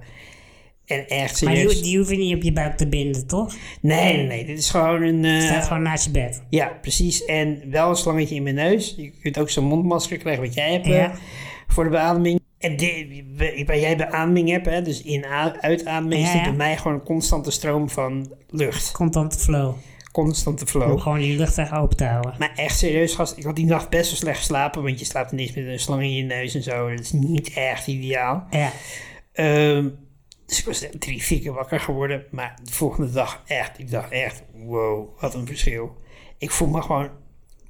Speaker 2: En echt
Speaker 1: Maar die,
Speaker 2: serieus.
Speaker 1: die hoef je niet op je buik te binden, toch? Het
Speaker 2: Nee, nee, nee, dit is gewoon een... eh,
Speaker 1: staat gewoon naast je bed.
Speaker 2: ja, precies. En wel een slangetje in mijn neus. Je kunt ook zo'n mondmasker krijgen wat jij hebt eh,
Speaker 1: Ja.
Speaker 2: voor de beademing. En de, waar jij beademing hebt, hè, dus in uitademing,
Speaker 1: Ja,
Speaker 2: is dit
Speaker 1: ja.
Speaker 2: bij mij gewoon een constante stroom van lucht.
Speaker 1: Contant flow.
Speaker 2: Constante
Speaker 1: Om
Speaker 2: flow.
Speaker 1: gewoon die luchtweg open te houden.
Speaker 2: Maar echt serieus, gast, ik had die nacht best wel slecht geslapen, want je slaapt niks met een slang in je neus en zo. Dat is niet echt ideaal.
Speaker 1: Ja.
Speaker 2: Ehm, dus ik was echt drie, vier keer wakker geworden. Maar de volgende dag echt, ik dacht echt, wow, wat een verschil. Ik voel me gewoon,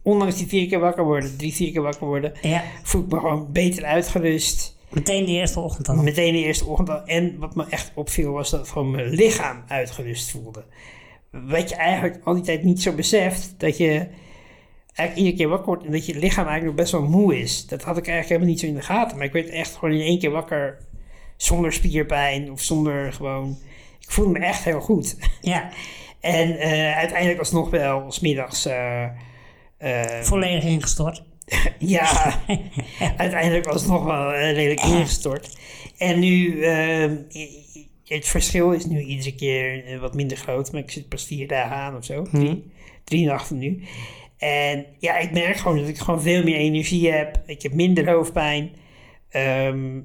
Speaker 2: ondanks die vier keer wakker worden, drie, vier keer wakker worden,
Speaker 1: ja.
Speaker 2: voel ik me gewoon beter uitgerust.
Speaker 1: Meteen de eerste ochtend al.
Speaker 2: Meteen de eerste ochtend al. En wat me echt opviel was dat gewoon mijn lichaam uitgerust voelde. Wat je eigenlijk al die tijd niet zo beseft, dat je eigenlijk iedere keer wakker wordt en dat je lichaam eigenlijk nog best wel moe is. Dat had ik eigenlijk helemaal niet zo in de gaten. Maar ik werd echt gewoon in één keer wakker zonder spierpijn of zonder gewoon... Ik voelde me echt heel goed.
Speaker 1: Ja.
Speaker 2: En eh, uiteindelijk was het nog wel smiddags... eh eh,
Speaker 1: Volledig ingestort.
Speaker 2: ja, uiteindelijk was het nog wel eh, redelijk ingestort. En nu, ehm, i- i- het verschil is nu iedere keer eh, wat minder groot, maar ik zit pas vier dagen aan of zo. Drie, drie nachten nu. En ja, ik merk gewoon dat ik gewoon veel meer energie heb. Ik heb minder hoofdpijn. Ehm,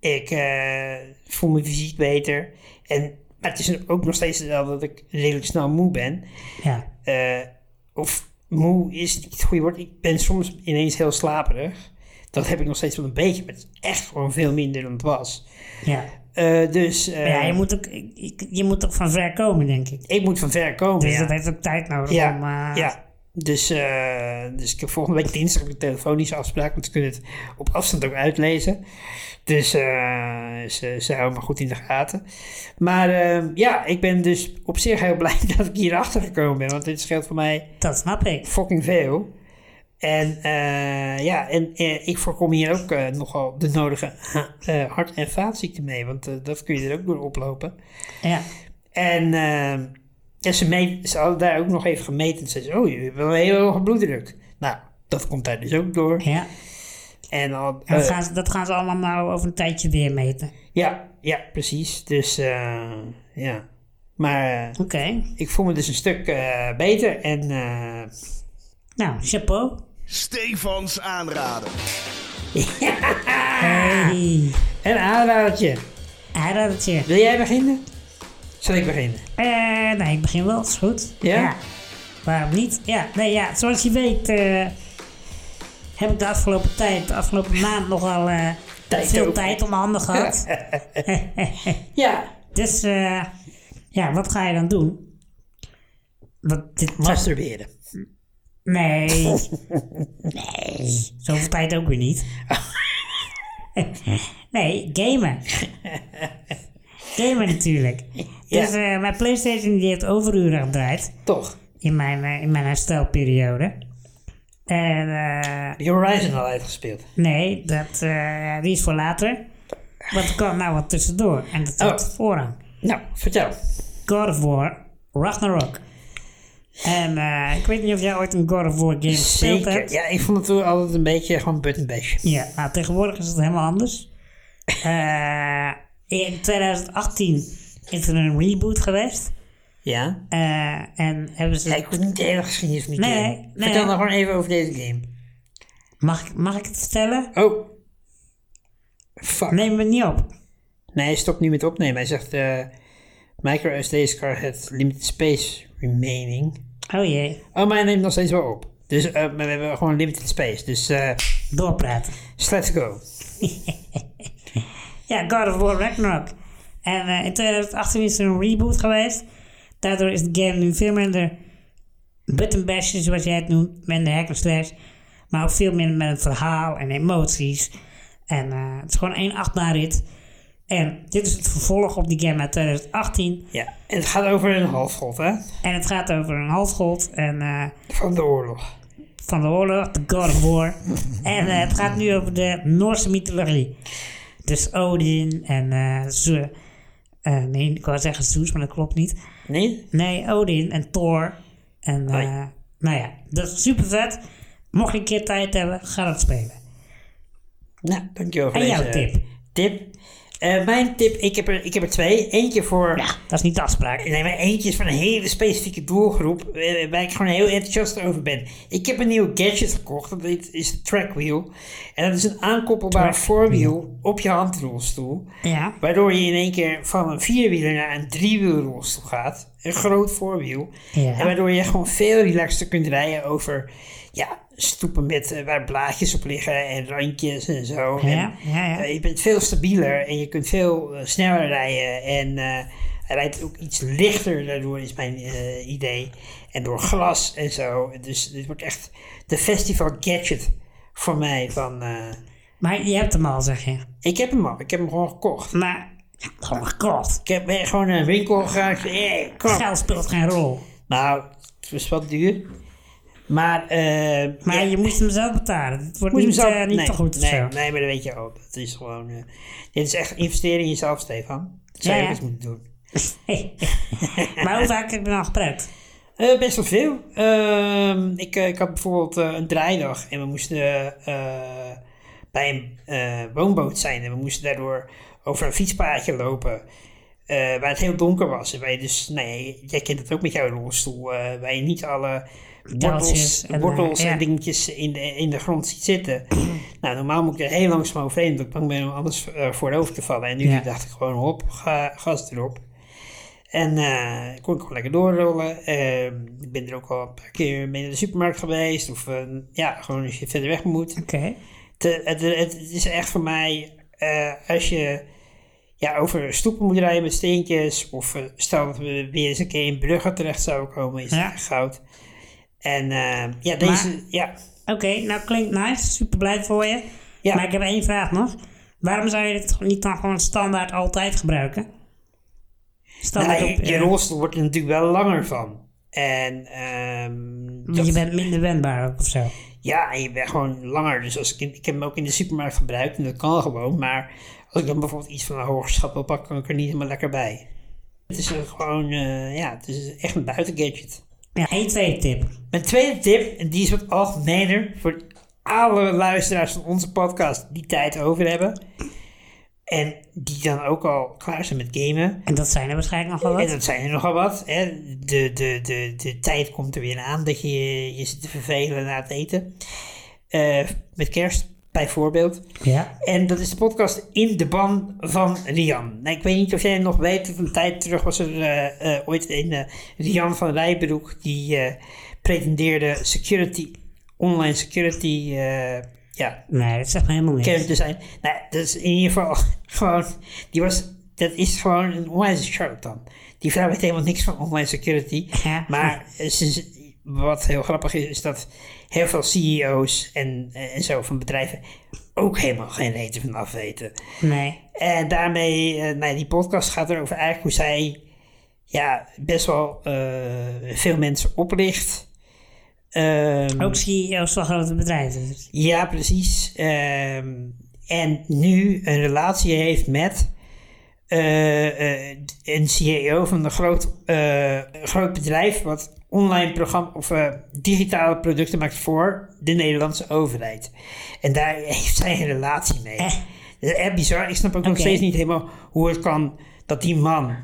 Speaker 2: ik eh, voel me fysiek beter. En, maar het is ook nog steeds hetzelfde dat ik redelijk snel moe ben
Speaker 1: Ja.
Speaker 2: eh, of moe is niet het goede woord. Ik ben soms ineens heel slaperig. Dat heb ik nog steeds wel een beetje, maar het is echt gewoon veel minder dan het was.
Speaker 1: Ja.
Speaker 2: Eh, dus eh,
Speaker 1: Maar ja, je moet, ook, ik- je moet toch van ver komen, denk ik.
Speaker 2: ik moet van ver komen.
Speaker 1: Dus
Speaker 2: ja.
Speaker 1: dat heeft ook tijd nodig
Speaker 2: ja.
Speaker 1: om... eh,
Speaker 2: ja. Dus, eh, dus ik heb volgende week dinsdag heb ik een telefonische afspraak, want ze kunnen het op afstand ook uitlezen. Dus eh, ze, ze houden me goed in de gaten. Maar eh, ja, ik ben dus op zich heel blij dat ik hierachter gekomen ben, want dit scheelt voor mij
Speaker 1: Dat snap ik.
Speaker 2: fucking veel. En eh, ja, en eh, ik voorkom hier ook eh, nogal de nodige eh, hart- en vaatziekten mee, want eh, dat kun je er ook door oplopen.
Speaker 1: Ja.
Speaker 2: En eh, ja, ze, meet, ze hadden daar ook nog even gemeten en ze zeiden, oh, je hebt wel een hele hoge bloeddruk. Nou, dat komt daar dus ook door.
Speaker 1: Ja.
Speaker 2: En dan,
Speaker 1: En dat,
Speaker 2: eh,
Speaker 1: gaan ze, dat gaan ze allemaal nou over een tijdje weer meten.
Speaker 2: ja, ja, precies. Dus eh, ja, maar eh,
Speaker 1: Oké.
Speaker 2: ik voel me dus een stuk eh, beter en eh,
Speaker 1: Nou, chapeau.
Speaker 4: Stefans aanraden.
Speaker 2: Ah.
Speaker 1: Hey.
Speaker 2: een aanradertje.
Speaker 1: Hij raadt het je.
Speaker 2: Wil jij beginnen? Zal ik beginnen?
Speaker 1: Eh, nee, ik begin wel, is goed.
Speaker 2: Ja?
Speaker 1: Waarom niet? Ja, nee, ja, zoals je weet eh, heb ik de afgelopen tijd, de afgelopen maand nogal eh,
Speaker 2: Tijd
Speaker 1: veel
Speaker 2: over.
Speaker 1: tijd om mijn handen gehad.
Speaker 2: Ja,
Speaker 1: Dus eh, ja, wat ga je dan doen? Want dit
Speaker 2: Masturberen.
Speaker 1: Nee. nee. Zoveel tijd ook weer niet. nee, gamen. gamen natuurlijk.
Speaker 2: Ja.
Speaker 1: Dus eh, mijn PlayStation die heeft overuren gedraaid
Speaker 2: Toch?
Speaker 1: in mijn, eh, in mijn herstelperiode. En eh,
Speaker 2: Heb je Horizon al uitgespeeld?
Speaker 1: nee, dat, eh, die is voor later. Want er kwam nou wat tussendoor en dat had
Speaker 2: Oh.
Speaker 1: voorrang.
Speaker 2: Nou, vertel.
Speaker 1: God of War, Ragnarok. En eh, ik weet niet of jij ooit een God of War game gespeeld hebt.
Speaker 2: Zeker. Ja, ik vond het toen altijd een beetje gewoon button bash.
Speaker 1: Ja, nou tegenwoordig is het helemaal anders. Eh, in 2018 is er een reboot geweest.
Speaker 2: Ja?
Speaker 1: Eh, en hebben ze...
Speaker 2: ja ik hoef niet de hele geschiedenis van die
Speaker 1: Nee,
Speaker 2: game.
Speaker 1: nee.
Speaker 2: Vertel dan gewoon even over deze game.
Speaker 1: Mag, ik- mag ik het vertellen?
Speaker 2: Oh. Fuck. Nee,
Speaker 1: Neem me niet op.
Speaker 2: hij stopt nu met opnemen. Hij zegt, eh micro SD's card had limited space remaining.
Speaker 1: Oh jee,
Speaker 2: Oh, maar hij neemt nog steeds wel op. Dus eh, maar we hebben gewoon limited space. Dus eh
Speaker 1: doorpraten.
Speaker 2: let's go.
Speaker 1: Ja, God of War Ragnarok. En eh, in 2018 is er een reboot geweest. Daardoor is de game nu veel minder button bashes, zoals jij het noemt, minder hack and slash. Maar ook veel minder met het verhaal en emoties. En eh, het is gewoon één achtbaar rit En dit is het vervolg op die game uit 2018.
Speaker 2: Ja. En het gaat over een halfgod, hè?
Speaker 1: En het gaat over een halfgod en, eh,
Speaker 2: Van de oorlog.
Speaker 1: van de oorlog, de God of War. en eh, het gaat nu over de Noorse mythologie. Dus Odin en eh Zeus. Eh, nee, ik wou zeggen Zeus, maar dat klopt niet.
Speaker 2: Nee?
Speaker 1: Nee, Odin en Thor. En eh,
Speaker 2: Hoi.
Speaker 1: nou ja, dat is super vet. Mocht je een keer tijd hebben, ga dat spelen.
Speaker 2: Nou, dankjewel voor
Speaker 1: En
Speaker 2: deze
Speaker 1: jouw tip?
Speaker 2: tip. Eh, mijn tip, ik heb, er, ik heb er twee. Eentje voor...
Speaker 1: Dat is niet de afspraak.
Speaker 2: Nee, maar eentje is van een hele specifieke doelgroep eh, waar ik gewoon heel enthousiast over ben. Ik heb een nieuw gadget gekocht, dat heet- is de trackwheel. En dat is een aankoppelbaar voorwiel op je handrolstoel.
Speaker 1: Ja.
Speaker 2: Waardoor je in één keer van een vierwieler naar een driewielrolstoel gaat. Een groot voorwiel.
Speaker 1: Ja.
Speaker 2: En waardoor je gewoon veel relaxter kunt rijden over ja, stoepen met, eh, waar blaadjes op liggen en randjes en zo.
Speaker 1: Ja,
Speaker 2: En,
Speaker 1: ja, ja.
Speaker 2: eh, je bent veel stabieler en je kunt veel eh, sneller rijden. En eh hij rijdt ook iets lichter, daardoor is mijn eh, idee. En door glas en zo. Dus dit wordt echt de festival gadget voor mij. Van, eh,
Speaker 1: Maar je hebt hem al, zeg je.
Speaker 2: ik heb hem al, ik heb hem gewoon gekocht.
Speaker 1: Maar, oh mijn god.
Speaker 2: Ik heb eh, gewoon naar een winkel gegaan. Ik zei, "Hey, kom."
Speaker 1: Geld speelt geen rol.
Speaker 2: Nou, het was wel duur. Maar, eh,
Speaker 1: Maar
Speaker 2: ja,
Speaker 1: je moest hem zelf betalen. Het wordt
Speaker 2: moet je
Speaker 1: niet,
Speaker 2: hem zo-
Speaker 1: eh, niet
Speaker 2: nee,
Speaker 1: te goed of
Speaker 2: nee,
Speaker 1: zo.
Speaker 2: Nee, maar dat weet je ook. Dat is gewoon... eh, dit is echt investeren in jezelf, Stefan. Dat zou
Speaker 1: Ja,
Speaker 2: je
Speaker 1: ja.
Speaker 2: ook eens moeten doen.
Speaker 1: maar hoe vaak heb je hem al gebruikt?
Speaker 2: Eh, best wel veel. Ehm, ik, eh, ik had bijvoorbeeld eh, een draaidag en we moesten eh, eh, bij een eh, woonboot zijn. En we moesten daardoor over een fietspaadje lopen eh, waar het heel donker was. En waar je dus, nee, jij kent het ook met jouw rolstoel, eh, waar je niet alle wortels,
Speaker 1: Pijltjes en, eh,
Speaker 2: wortels en
Speaker 1: ja.
Speaker 2: dingetjes in de, in de grond ziet zitten. nou, normaal moet ik er heel langzaam overheen, omdat ik bang ben om alles eh, voorover te vallen. En nu
Speaker 1: Ja.
Speaker 2: dacht ik gewoon, hop, ga, gas erop. En eh, ik kon ik gewoon lekker doorrollen. Ehm, ik ben er ook al een paar keer mee naar de supermarkt geweest. Of eh, ja, gewoon als je verder weg moet.
Speaker 1: Oké.
Speaker 2: Het, het, het- het is echt voor mij, eh, als je ja, over stoepen moet rijden met steentjes. Of eh, stel dat we weer eens een keer in Brugge terecht zouden komen, is
Speaker 1: Ja.
Speaker 2: het goud. En eh, ja, deze, ja,
Speaker 1: Oké, nou klinkt nice. Super blij voor je.
Speaker 2: Ja.
Speaker 1: Maar ik heb één vraag nog. Waarom zou je dit niet dan gewoon standaard altijd gebruiken? Standaard
Speaker 2: nou,
Speaker 1: op...
Speaker 2: je
Speaker 1: eh,
Speaker 2: rolstoel wordt er natuurlijk wel langer van. En ehm,
Speaker 1: want
Speaker 2: dat-
Speaker 1: je bent minder wendbaar ook of zo.
Speaker 2: Ja, en je bent gewoon langer. Dus als ik, in- ik heb hem ook in de supermarkt gebruikt en dat kan gewoon. Maar als ik dan bijvoorbeeld iets van een hoger schap wil pakken, kan ik er niet helemaal lekker bij. Het is eh, gewoon, eh, ja, het is echt een buitengadget.
Speaker 1: Ja, één tweede tip.
Speaker 2: Mijn tweede tip, en die is wat algemener voor alle luisteraars van onze podcast die tijd over hebben. En die dan ook al klaar zijn met gamen.
Speaker 1: En dat zijn er waarschijnlijk nog wel
Speaker 2: En
Speaker 1: wat.
Speaker 2: dat zijn er nogal wat. Hè? De, de, de, de tijd komt er weer aan dat je je zit te vervelen na het eten. Eh, met kerst, bijvoorbeeld.
Speaker 1: Ja.
Speaker 2: En dat is de podcast In de Ban van Rian. Nou, ik weet niet of jij nog weet, van een tijd terug was er eh, eh, ooit een eh, Rian van Rijbroek die eh, pretendeerde security, online security, eh, ja,
Speaker 1: Nee, dat zegt me helemaal niks.
Speaker 2: kerk te zijn. Nou, dat is in ieder geval gewoon, die was, dat is gewoon een onwijze charlatan. Die vrouw weet helemaal niks van online security.
Speaker 1: Ja.
Speaker 2: Maar ze- wat heel grappig is, is dat heel veel CEO's en, en zo van bedrijven ook helemaal geen reden van afweten.
Speaker 1: Nee.
Speaker 2: En daarmee, eh, nou ja, die podcast gaat erover eigenlijk hoe zij ja, best wel eh, veel mensen oplicht. Ehm,
Speaker 1: Ook CEO's van grote bedrijven. Dus.
Speaker 2: ja, precies. Ehm, en nu een relatie heeft met eh, eh, een CEO van een groot, eh, een groot bedrijf wat online programma of eh, digitale producten maakt voor de Nederlandse overheid. En daar heeft zij een relatie mee. Dat is echt bizar. Ik snap ook nog
Speaker 1: Oké.
Speaker 2: steeds niet helemaal hoe het kan dat die man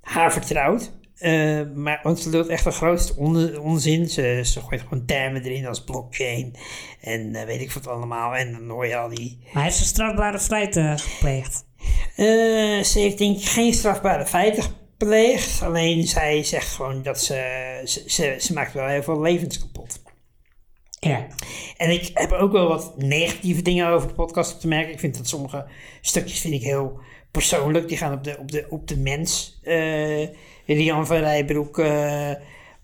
Speaker 2: haar vertrouwt. Eh, maar want ze doet echt de grootste on- onzin. Ze, ze gooit gewoon termen erin als blockchain en eh, weet ik wat allemaal. En dan hoor je al die...
Speaker 1: Maar hij heeft een strafbare feit eh, gepleegd.
Speaker 2: Eh, ze heeft denk ik geen strafbare feiten gepleegd. Alleen zij zegt gewoon dat ze... Ze, ze, ze maakt wel heel veel levens kapot.
Speaker 1: Ja.
Speaker 2: En ik heb ook wel wat negatieve dingen over de podcast op te merken. Ik vind dat sommige stukjes vind ik heel persoonlijk. Die gaan op de, op de, op de mens, eh Rian van Rijbroek, eh,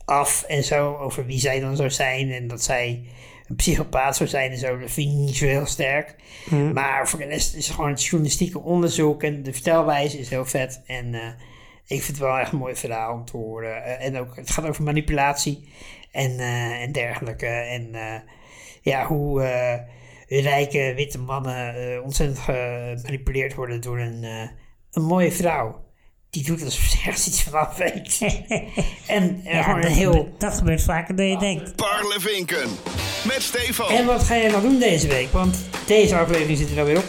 Speaker 2: af en zo. Over wie zij dan zou zijn. En dat zij een psychopaat zou zijn en zo, dat vind ik niet zo heel sterk. Maar voor de rest is het gewoon het journalistieke onderzoek en de vertelwijze is heel vet. En eh, ik vind het wel echt een mooi verhaal om te horen. Eh, en ook, het gaat over manipulatie en, eh, en dergelijke. En eh, ja, hoe eh, rijke witte mannen eh, ontzettend gemanipuleerd worden door een, eh, een mooie vrouw. Die doet alsof ze ergens iets vanaf weet. en eh,
Speaker 1: Ja,
Speaker 2: gewoon een
Speaker 1: dat,
Speaker 2: heel
Speaker 1: gebeurt, dat gebeurt vaker dan je denkt.
Speaker 4: Parlevinken. Met
Speaker 2: En
Speaker 4: Stefan.
Speaker 2: wat ga je nou doen deze week? Want deze aflevering zit er alweer op.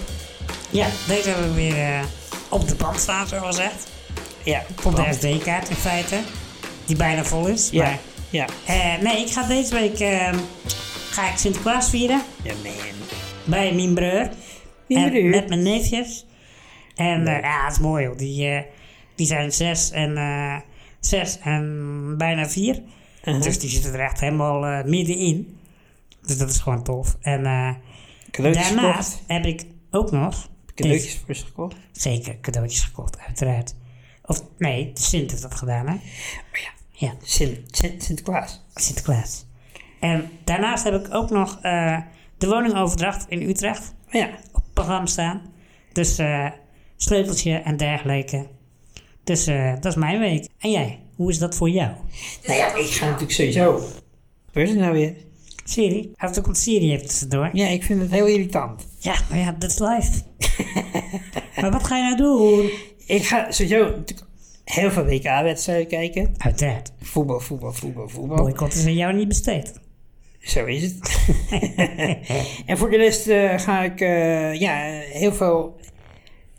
Speaker 1: Ja, deze hebben we weer eh, op de band staan, zo gezegd.
Speaker 2: Ja,
Speaker 1: Op de SD-kaart in feite. Die bijna vol is.
Speaker 2: Ja,
Speaker 1: Maar,
Speaker 2: ja.
Speaker 1: eh, nee, ik ga deze week eh, ga ik Sinterklaas vieren
Speaker 2: Ja, man.
Speaker 1: bij mijn broer.
Speaker 2: Mijn
Speaker 1: En
Speaker 2: broer.
Speaker 1: Met mijn neefjes. En eh, ja, het is mooi hoor. Die, eh, die zijn zes en, eh, zes en bijna vier.
Speaker 2: Uh-huh.
Speaker 1: Dus die zitten er echt helemaal eh, middenin. Dus dat is gewoon tof. En eh,
Speaker 2: Cadeautjes
Speaker 1: daarnaast
Speaker 2: gekocht.
Speaker 1: heb ik ook nog...
Speaker 2: Cadeautjes voor ze gekocht.
Speaker 1: Zeker, cadeautjes gekocht, uiteraard. Of nee, Sint heeft dat gedaan, hè?
Speaker 2: Oh
Speaker 1: Ja,
Speaker 2: Sint, Sint, Sinterklaas.
Speaker 1: Sinterklaas. En daarnaast heb ik ook nog eh, de woningoverdracht in Utrecht
Speaker 2: Maar ja,
Speaker 1: op het programma staan. Dus eh, sleuteltje en dergelijke. Dus eh, dat is mijn week. En jij, hoe is dat voor jou?
Speaker 6: Dus
Speaker 2: nou ja, ik ga natuurlijk sowieso. Wat gebeurt er nou weer?
Speaker 1: Siri? Hij heeft ook een Siri even tussendoor.
Speaker 2: Ja, ik vind het heel irritant.
Speaker 1: Ja, maar ja, dat is live. maar wat ga je nou doen?
Speaker 2: Ik ga sowieso natuurlijk heel veel WK-wedstrijden kijken.
Speaker 1: Uiteraard,
Speaker 2: Voetbal, voetbal, voetbal, voetbal.
Speaker 1: boycott is aan jou niet besteed.
Speaker 2: Zo is het. en voor de rest eh, ga ik eh, ja, heel veel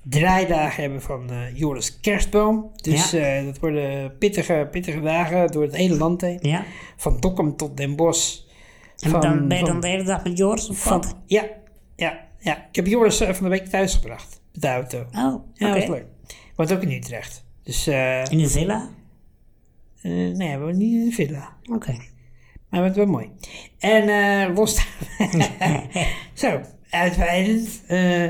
Speaker 2: draaidagen hebben van eh, Joris Kerstboom. Dus
Speaker 1: Ja.
Speaker 2: eh, dat worden pittige, pittige dagen door het hele land heen.
Speaker 1: Ja?
Speaker 2: Van Dokkum tot Den Bosch.
Speaker 1: En
Speaker 2: Van-
Speaker 1: dan ben je
Speaker 2: van-
Speaker 1: dan de hele dag met Joris op
Speaker 2: Van,
Speaker 1: pad?
Speaker 2: ja, ja, ja. Ik heb Joris eh, van de week thuis gebracht met de auto.
Speaker 1: Oh, oké.
Speaker 2: Ja, dat was leuk. Woont ook in Utrecht. Dus eh eh
Speaker 1: In een villa?
Speaker 2: nee, we woont niet in een villa.
Speaker 1: Oké.
Speaker 2: Maar het wordt wel mooi. En eh los daar- Zo, uitweidend. Eh,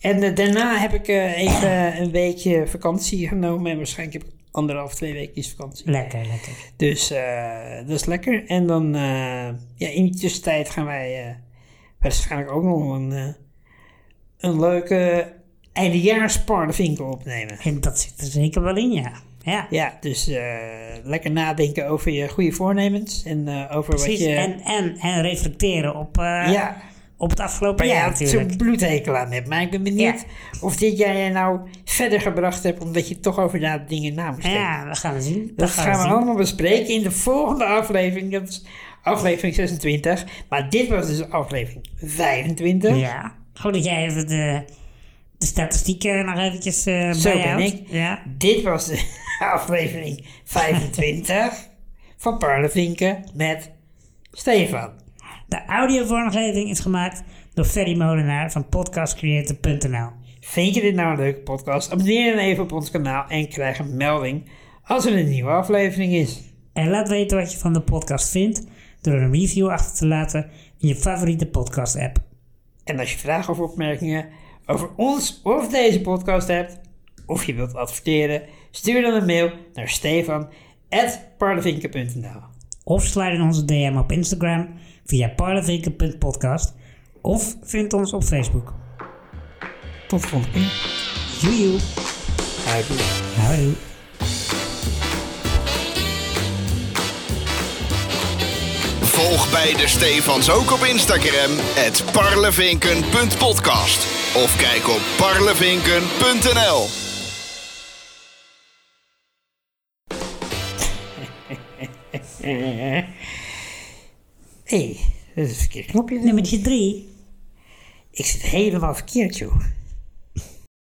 Speaker 2: en eh, daarna heb ik eh, even eh, een weekje vakantie genomen. En waarschijnlijk heb ik anderhalf, twee weken vakantie.
Speaker 1: Lekker, lekker.
Speaker 2: Dus eh, dat is lekker. En dan, eh, ja, in die tussentijd gaan wij eh, waarschijnlijk ook nog een, eh, een leuke eindejaarsparlevinkel opnemen.
Speaker 1: En dat zit er zeker wel in, ja. Ja,
Speaker 2: Ja, dus eh, lekker nadenken over je goede voornemens en eh, over
Speaker 1: precies.
Speaker 2: wat je...
Speaker 1: En, en, en reflecteren op, eh,
Speaker 2: ja,
Speaker 1: op het afgelopen
Speaker 2: waar
Speaker 1: jaar
Speaker 2: je
Speaker 1: natuurlijk.
Speaker 2: zo'n bloedhekel aan hebt. Maar ik ben benieuwd of dit jij je nou verder gebracht hebt, omdat je toch over na dingen na moest denken.
Speaker 1: Ja, we gaan het zien.
Speaker 2: Dat gaan we
Speaker 1: zien.
Speaker 2: allemaal bespreken in de volgende aflevering. Dat is aflevering 26. Maar dit was dus aflevering 25.
Speaker 1: Ja. Goed dat jij even de, de statistieken nog eventjes eh
Speaker 2: Zo ben
Speaker 1: bijhoudt.
Speaker 2: ik.
Speaker 1: Ja.
Speaker 2: Dit was de aflevering 25 van Parlevinken met Stefan.
Speaker 1: De audiovormgeving is gemaakt door Ferry Molenaar van podcastcreator.nl.
Speaker 2: Vind je dit nou een leuke podcast? Abonneer dan even op ons kanaal en krijg een melding als er een nieuwe aflevering is.
Speaker 1: En laat weten wat je van de podcast vindt door een review achter te laten in je favoriete podcast app.
Speaker 2: En als je vragen of opmerkingen over ons of deze podcast hebt, of je wilt adverteren, stuur dan een mail naar stefan.parlevinken.nl
Speaker 1: Of sluit in onze DM op Instagram via parlevinken.podcast of vind ons op Facebook.
Speaker 2: Tot de volgende keer.
Speaker 1: Joejoe!
Speaker 2: Houdoe.
Speaker 1: Houdoe!
Speaker 4: Volg beide Stefans ook op Instagram. Het parlevinken.podcast. Of kijk op parlevinken.nl.
Speaker 2: Hé, hey, dat is een verkeerd knopje.
Speaker 1: Nummertje 3.
Speaker 2: Ik zit helemaal verkeerd, joh.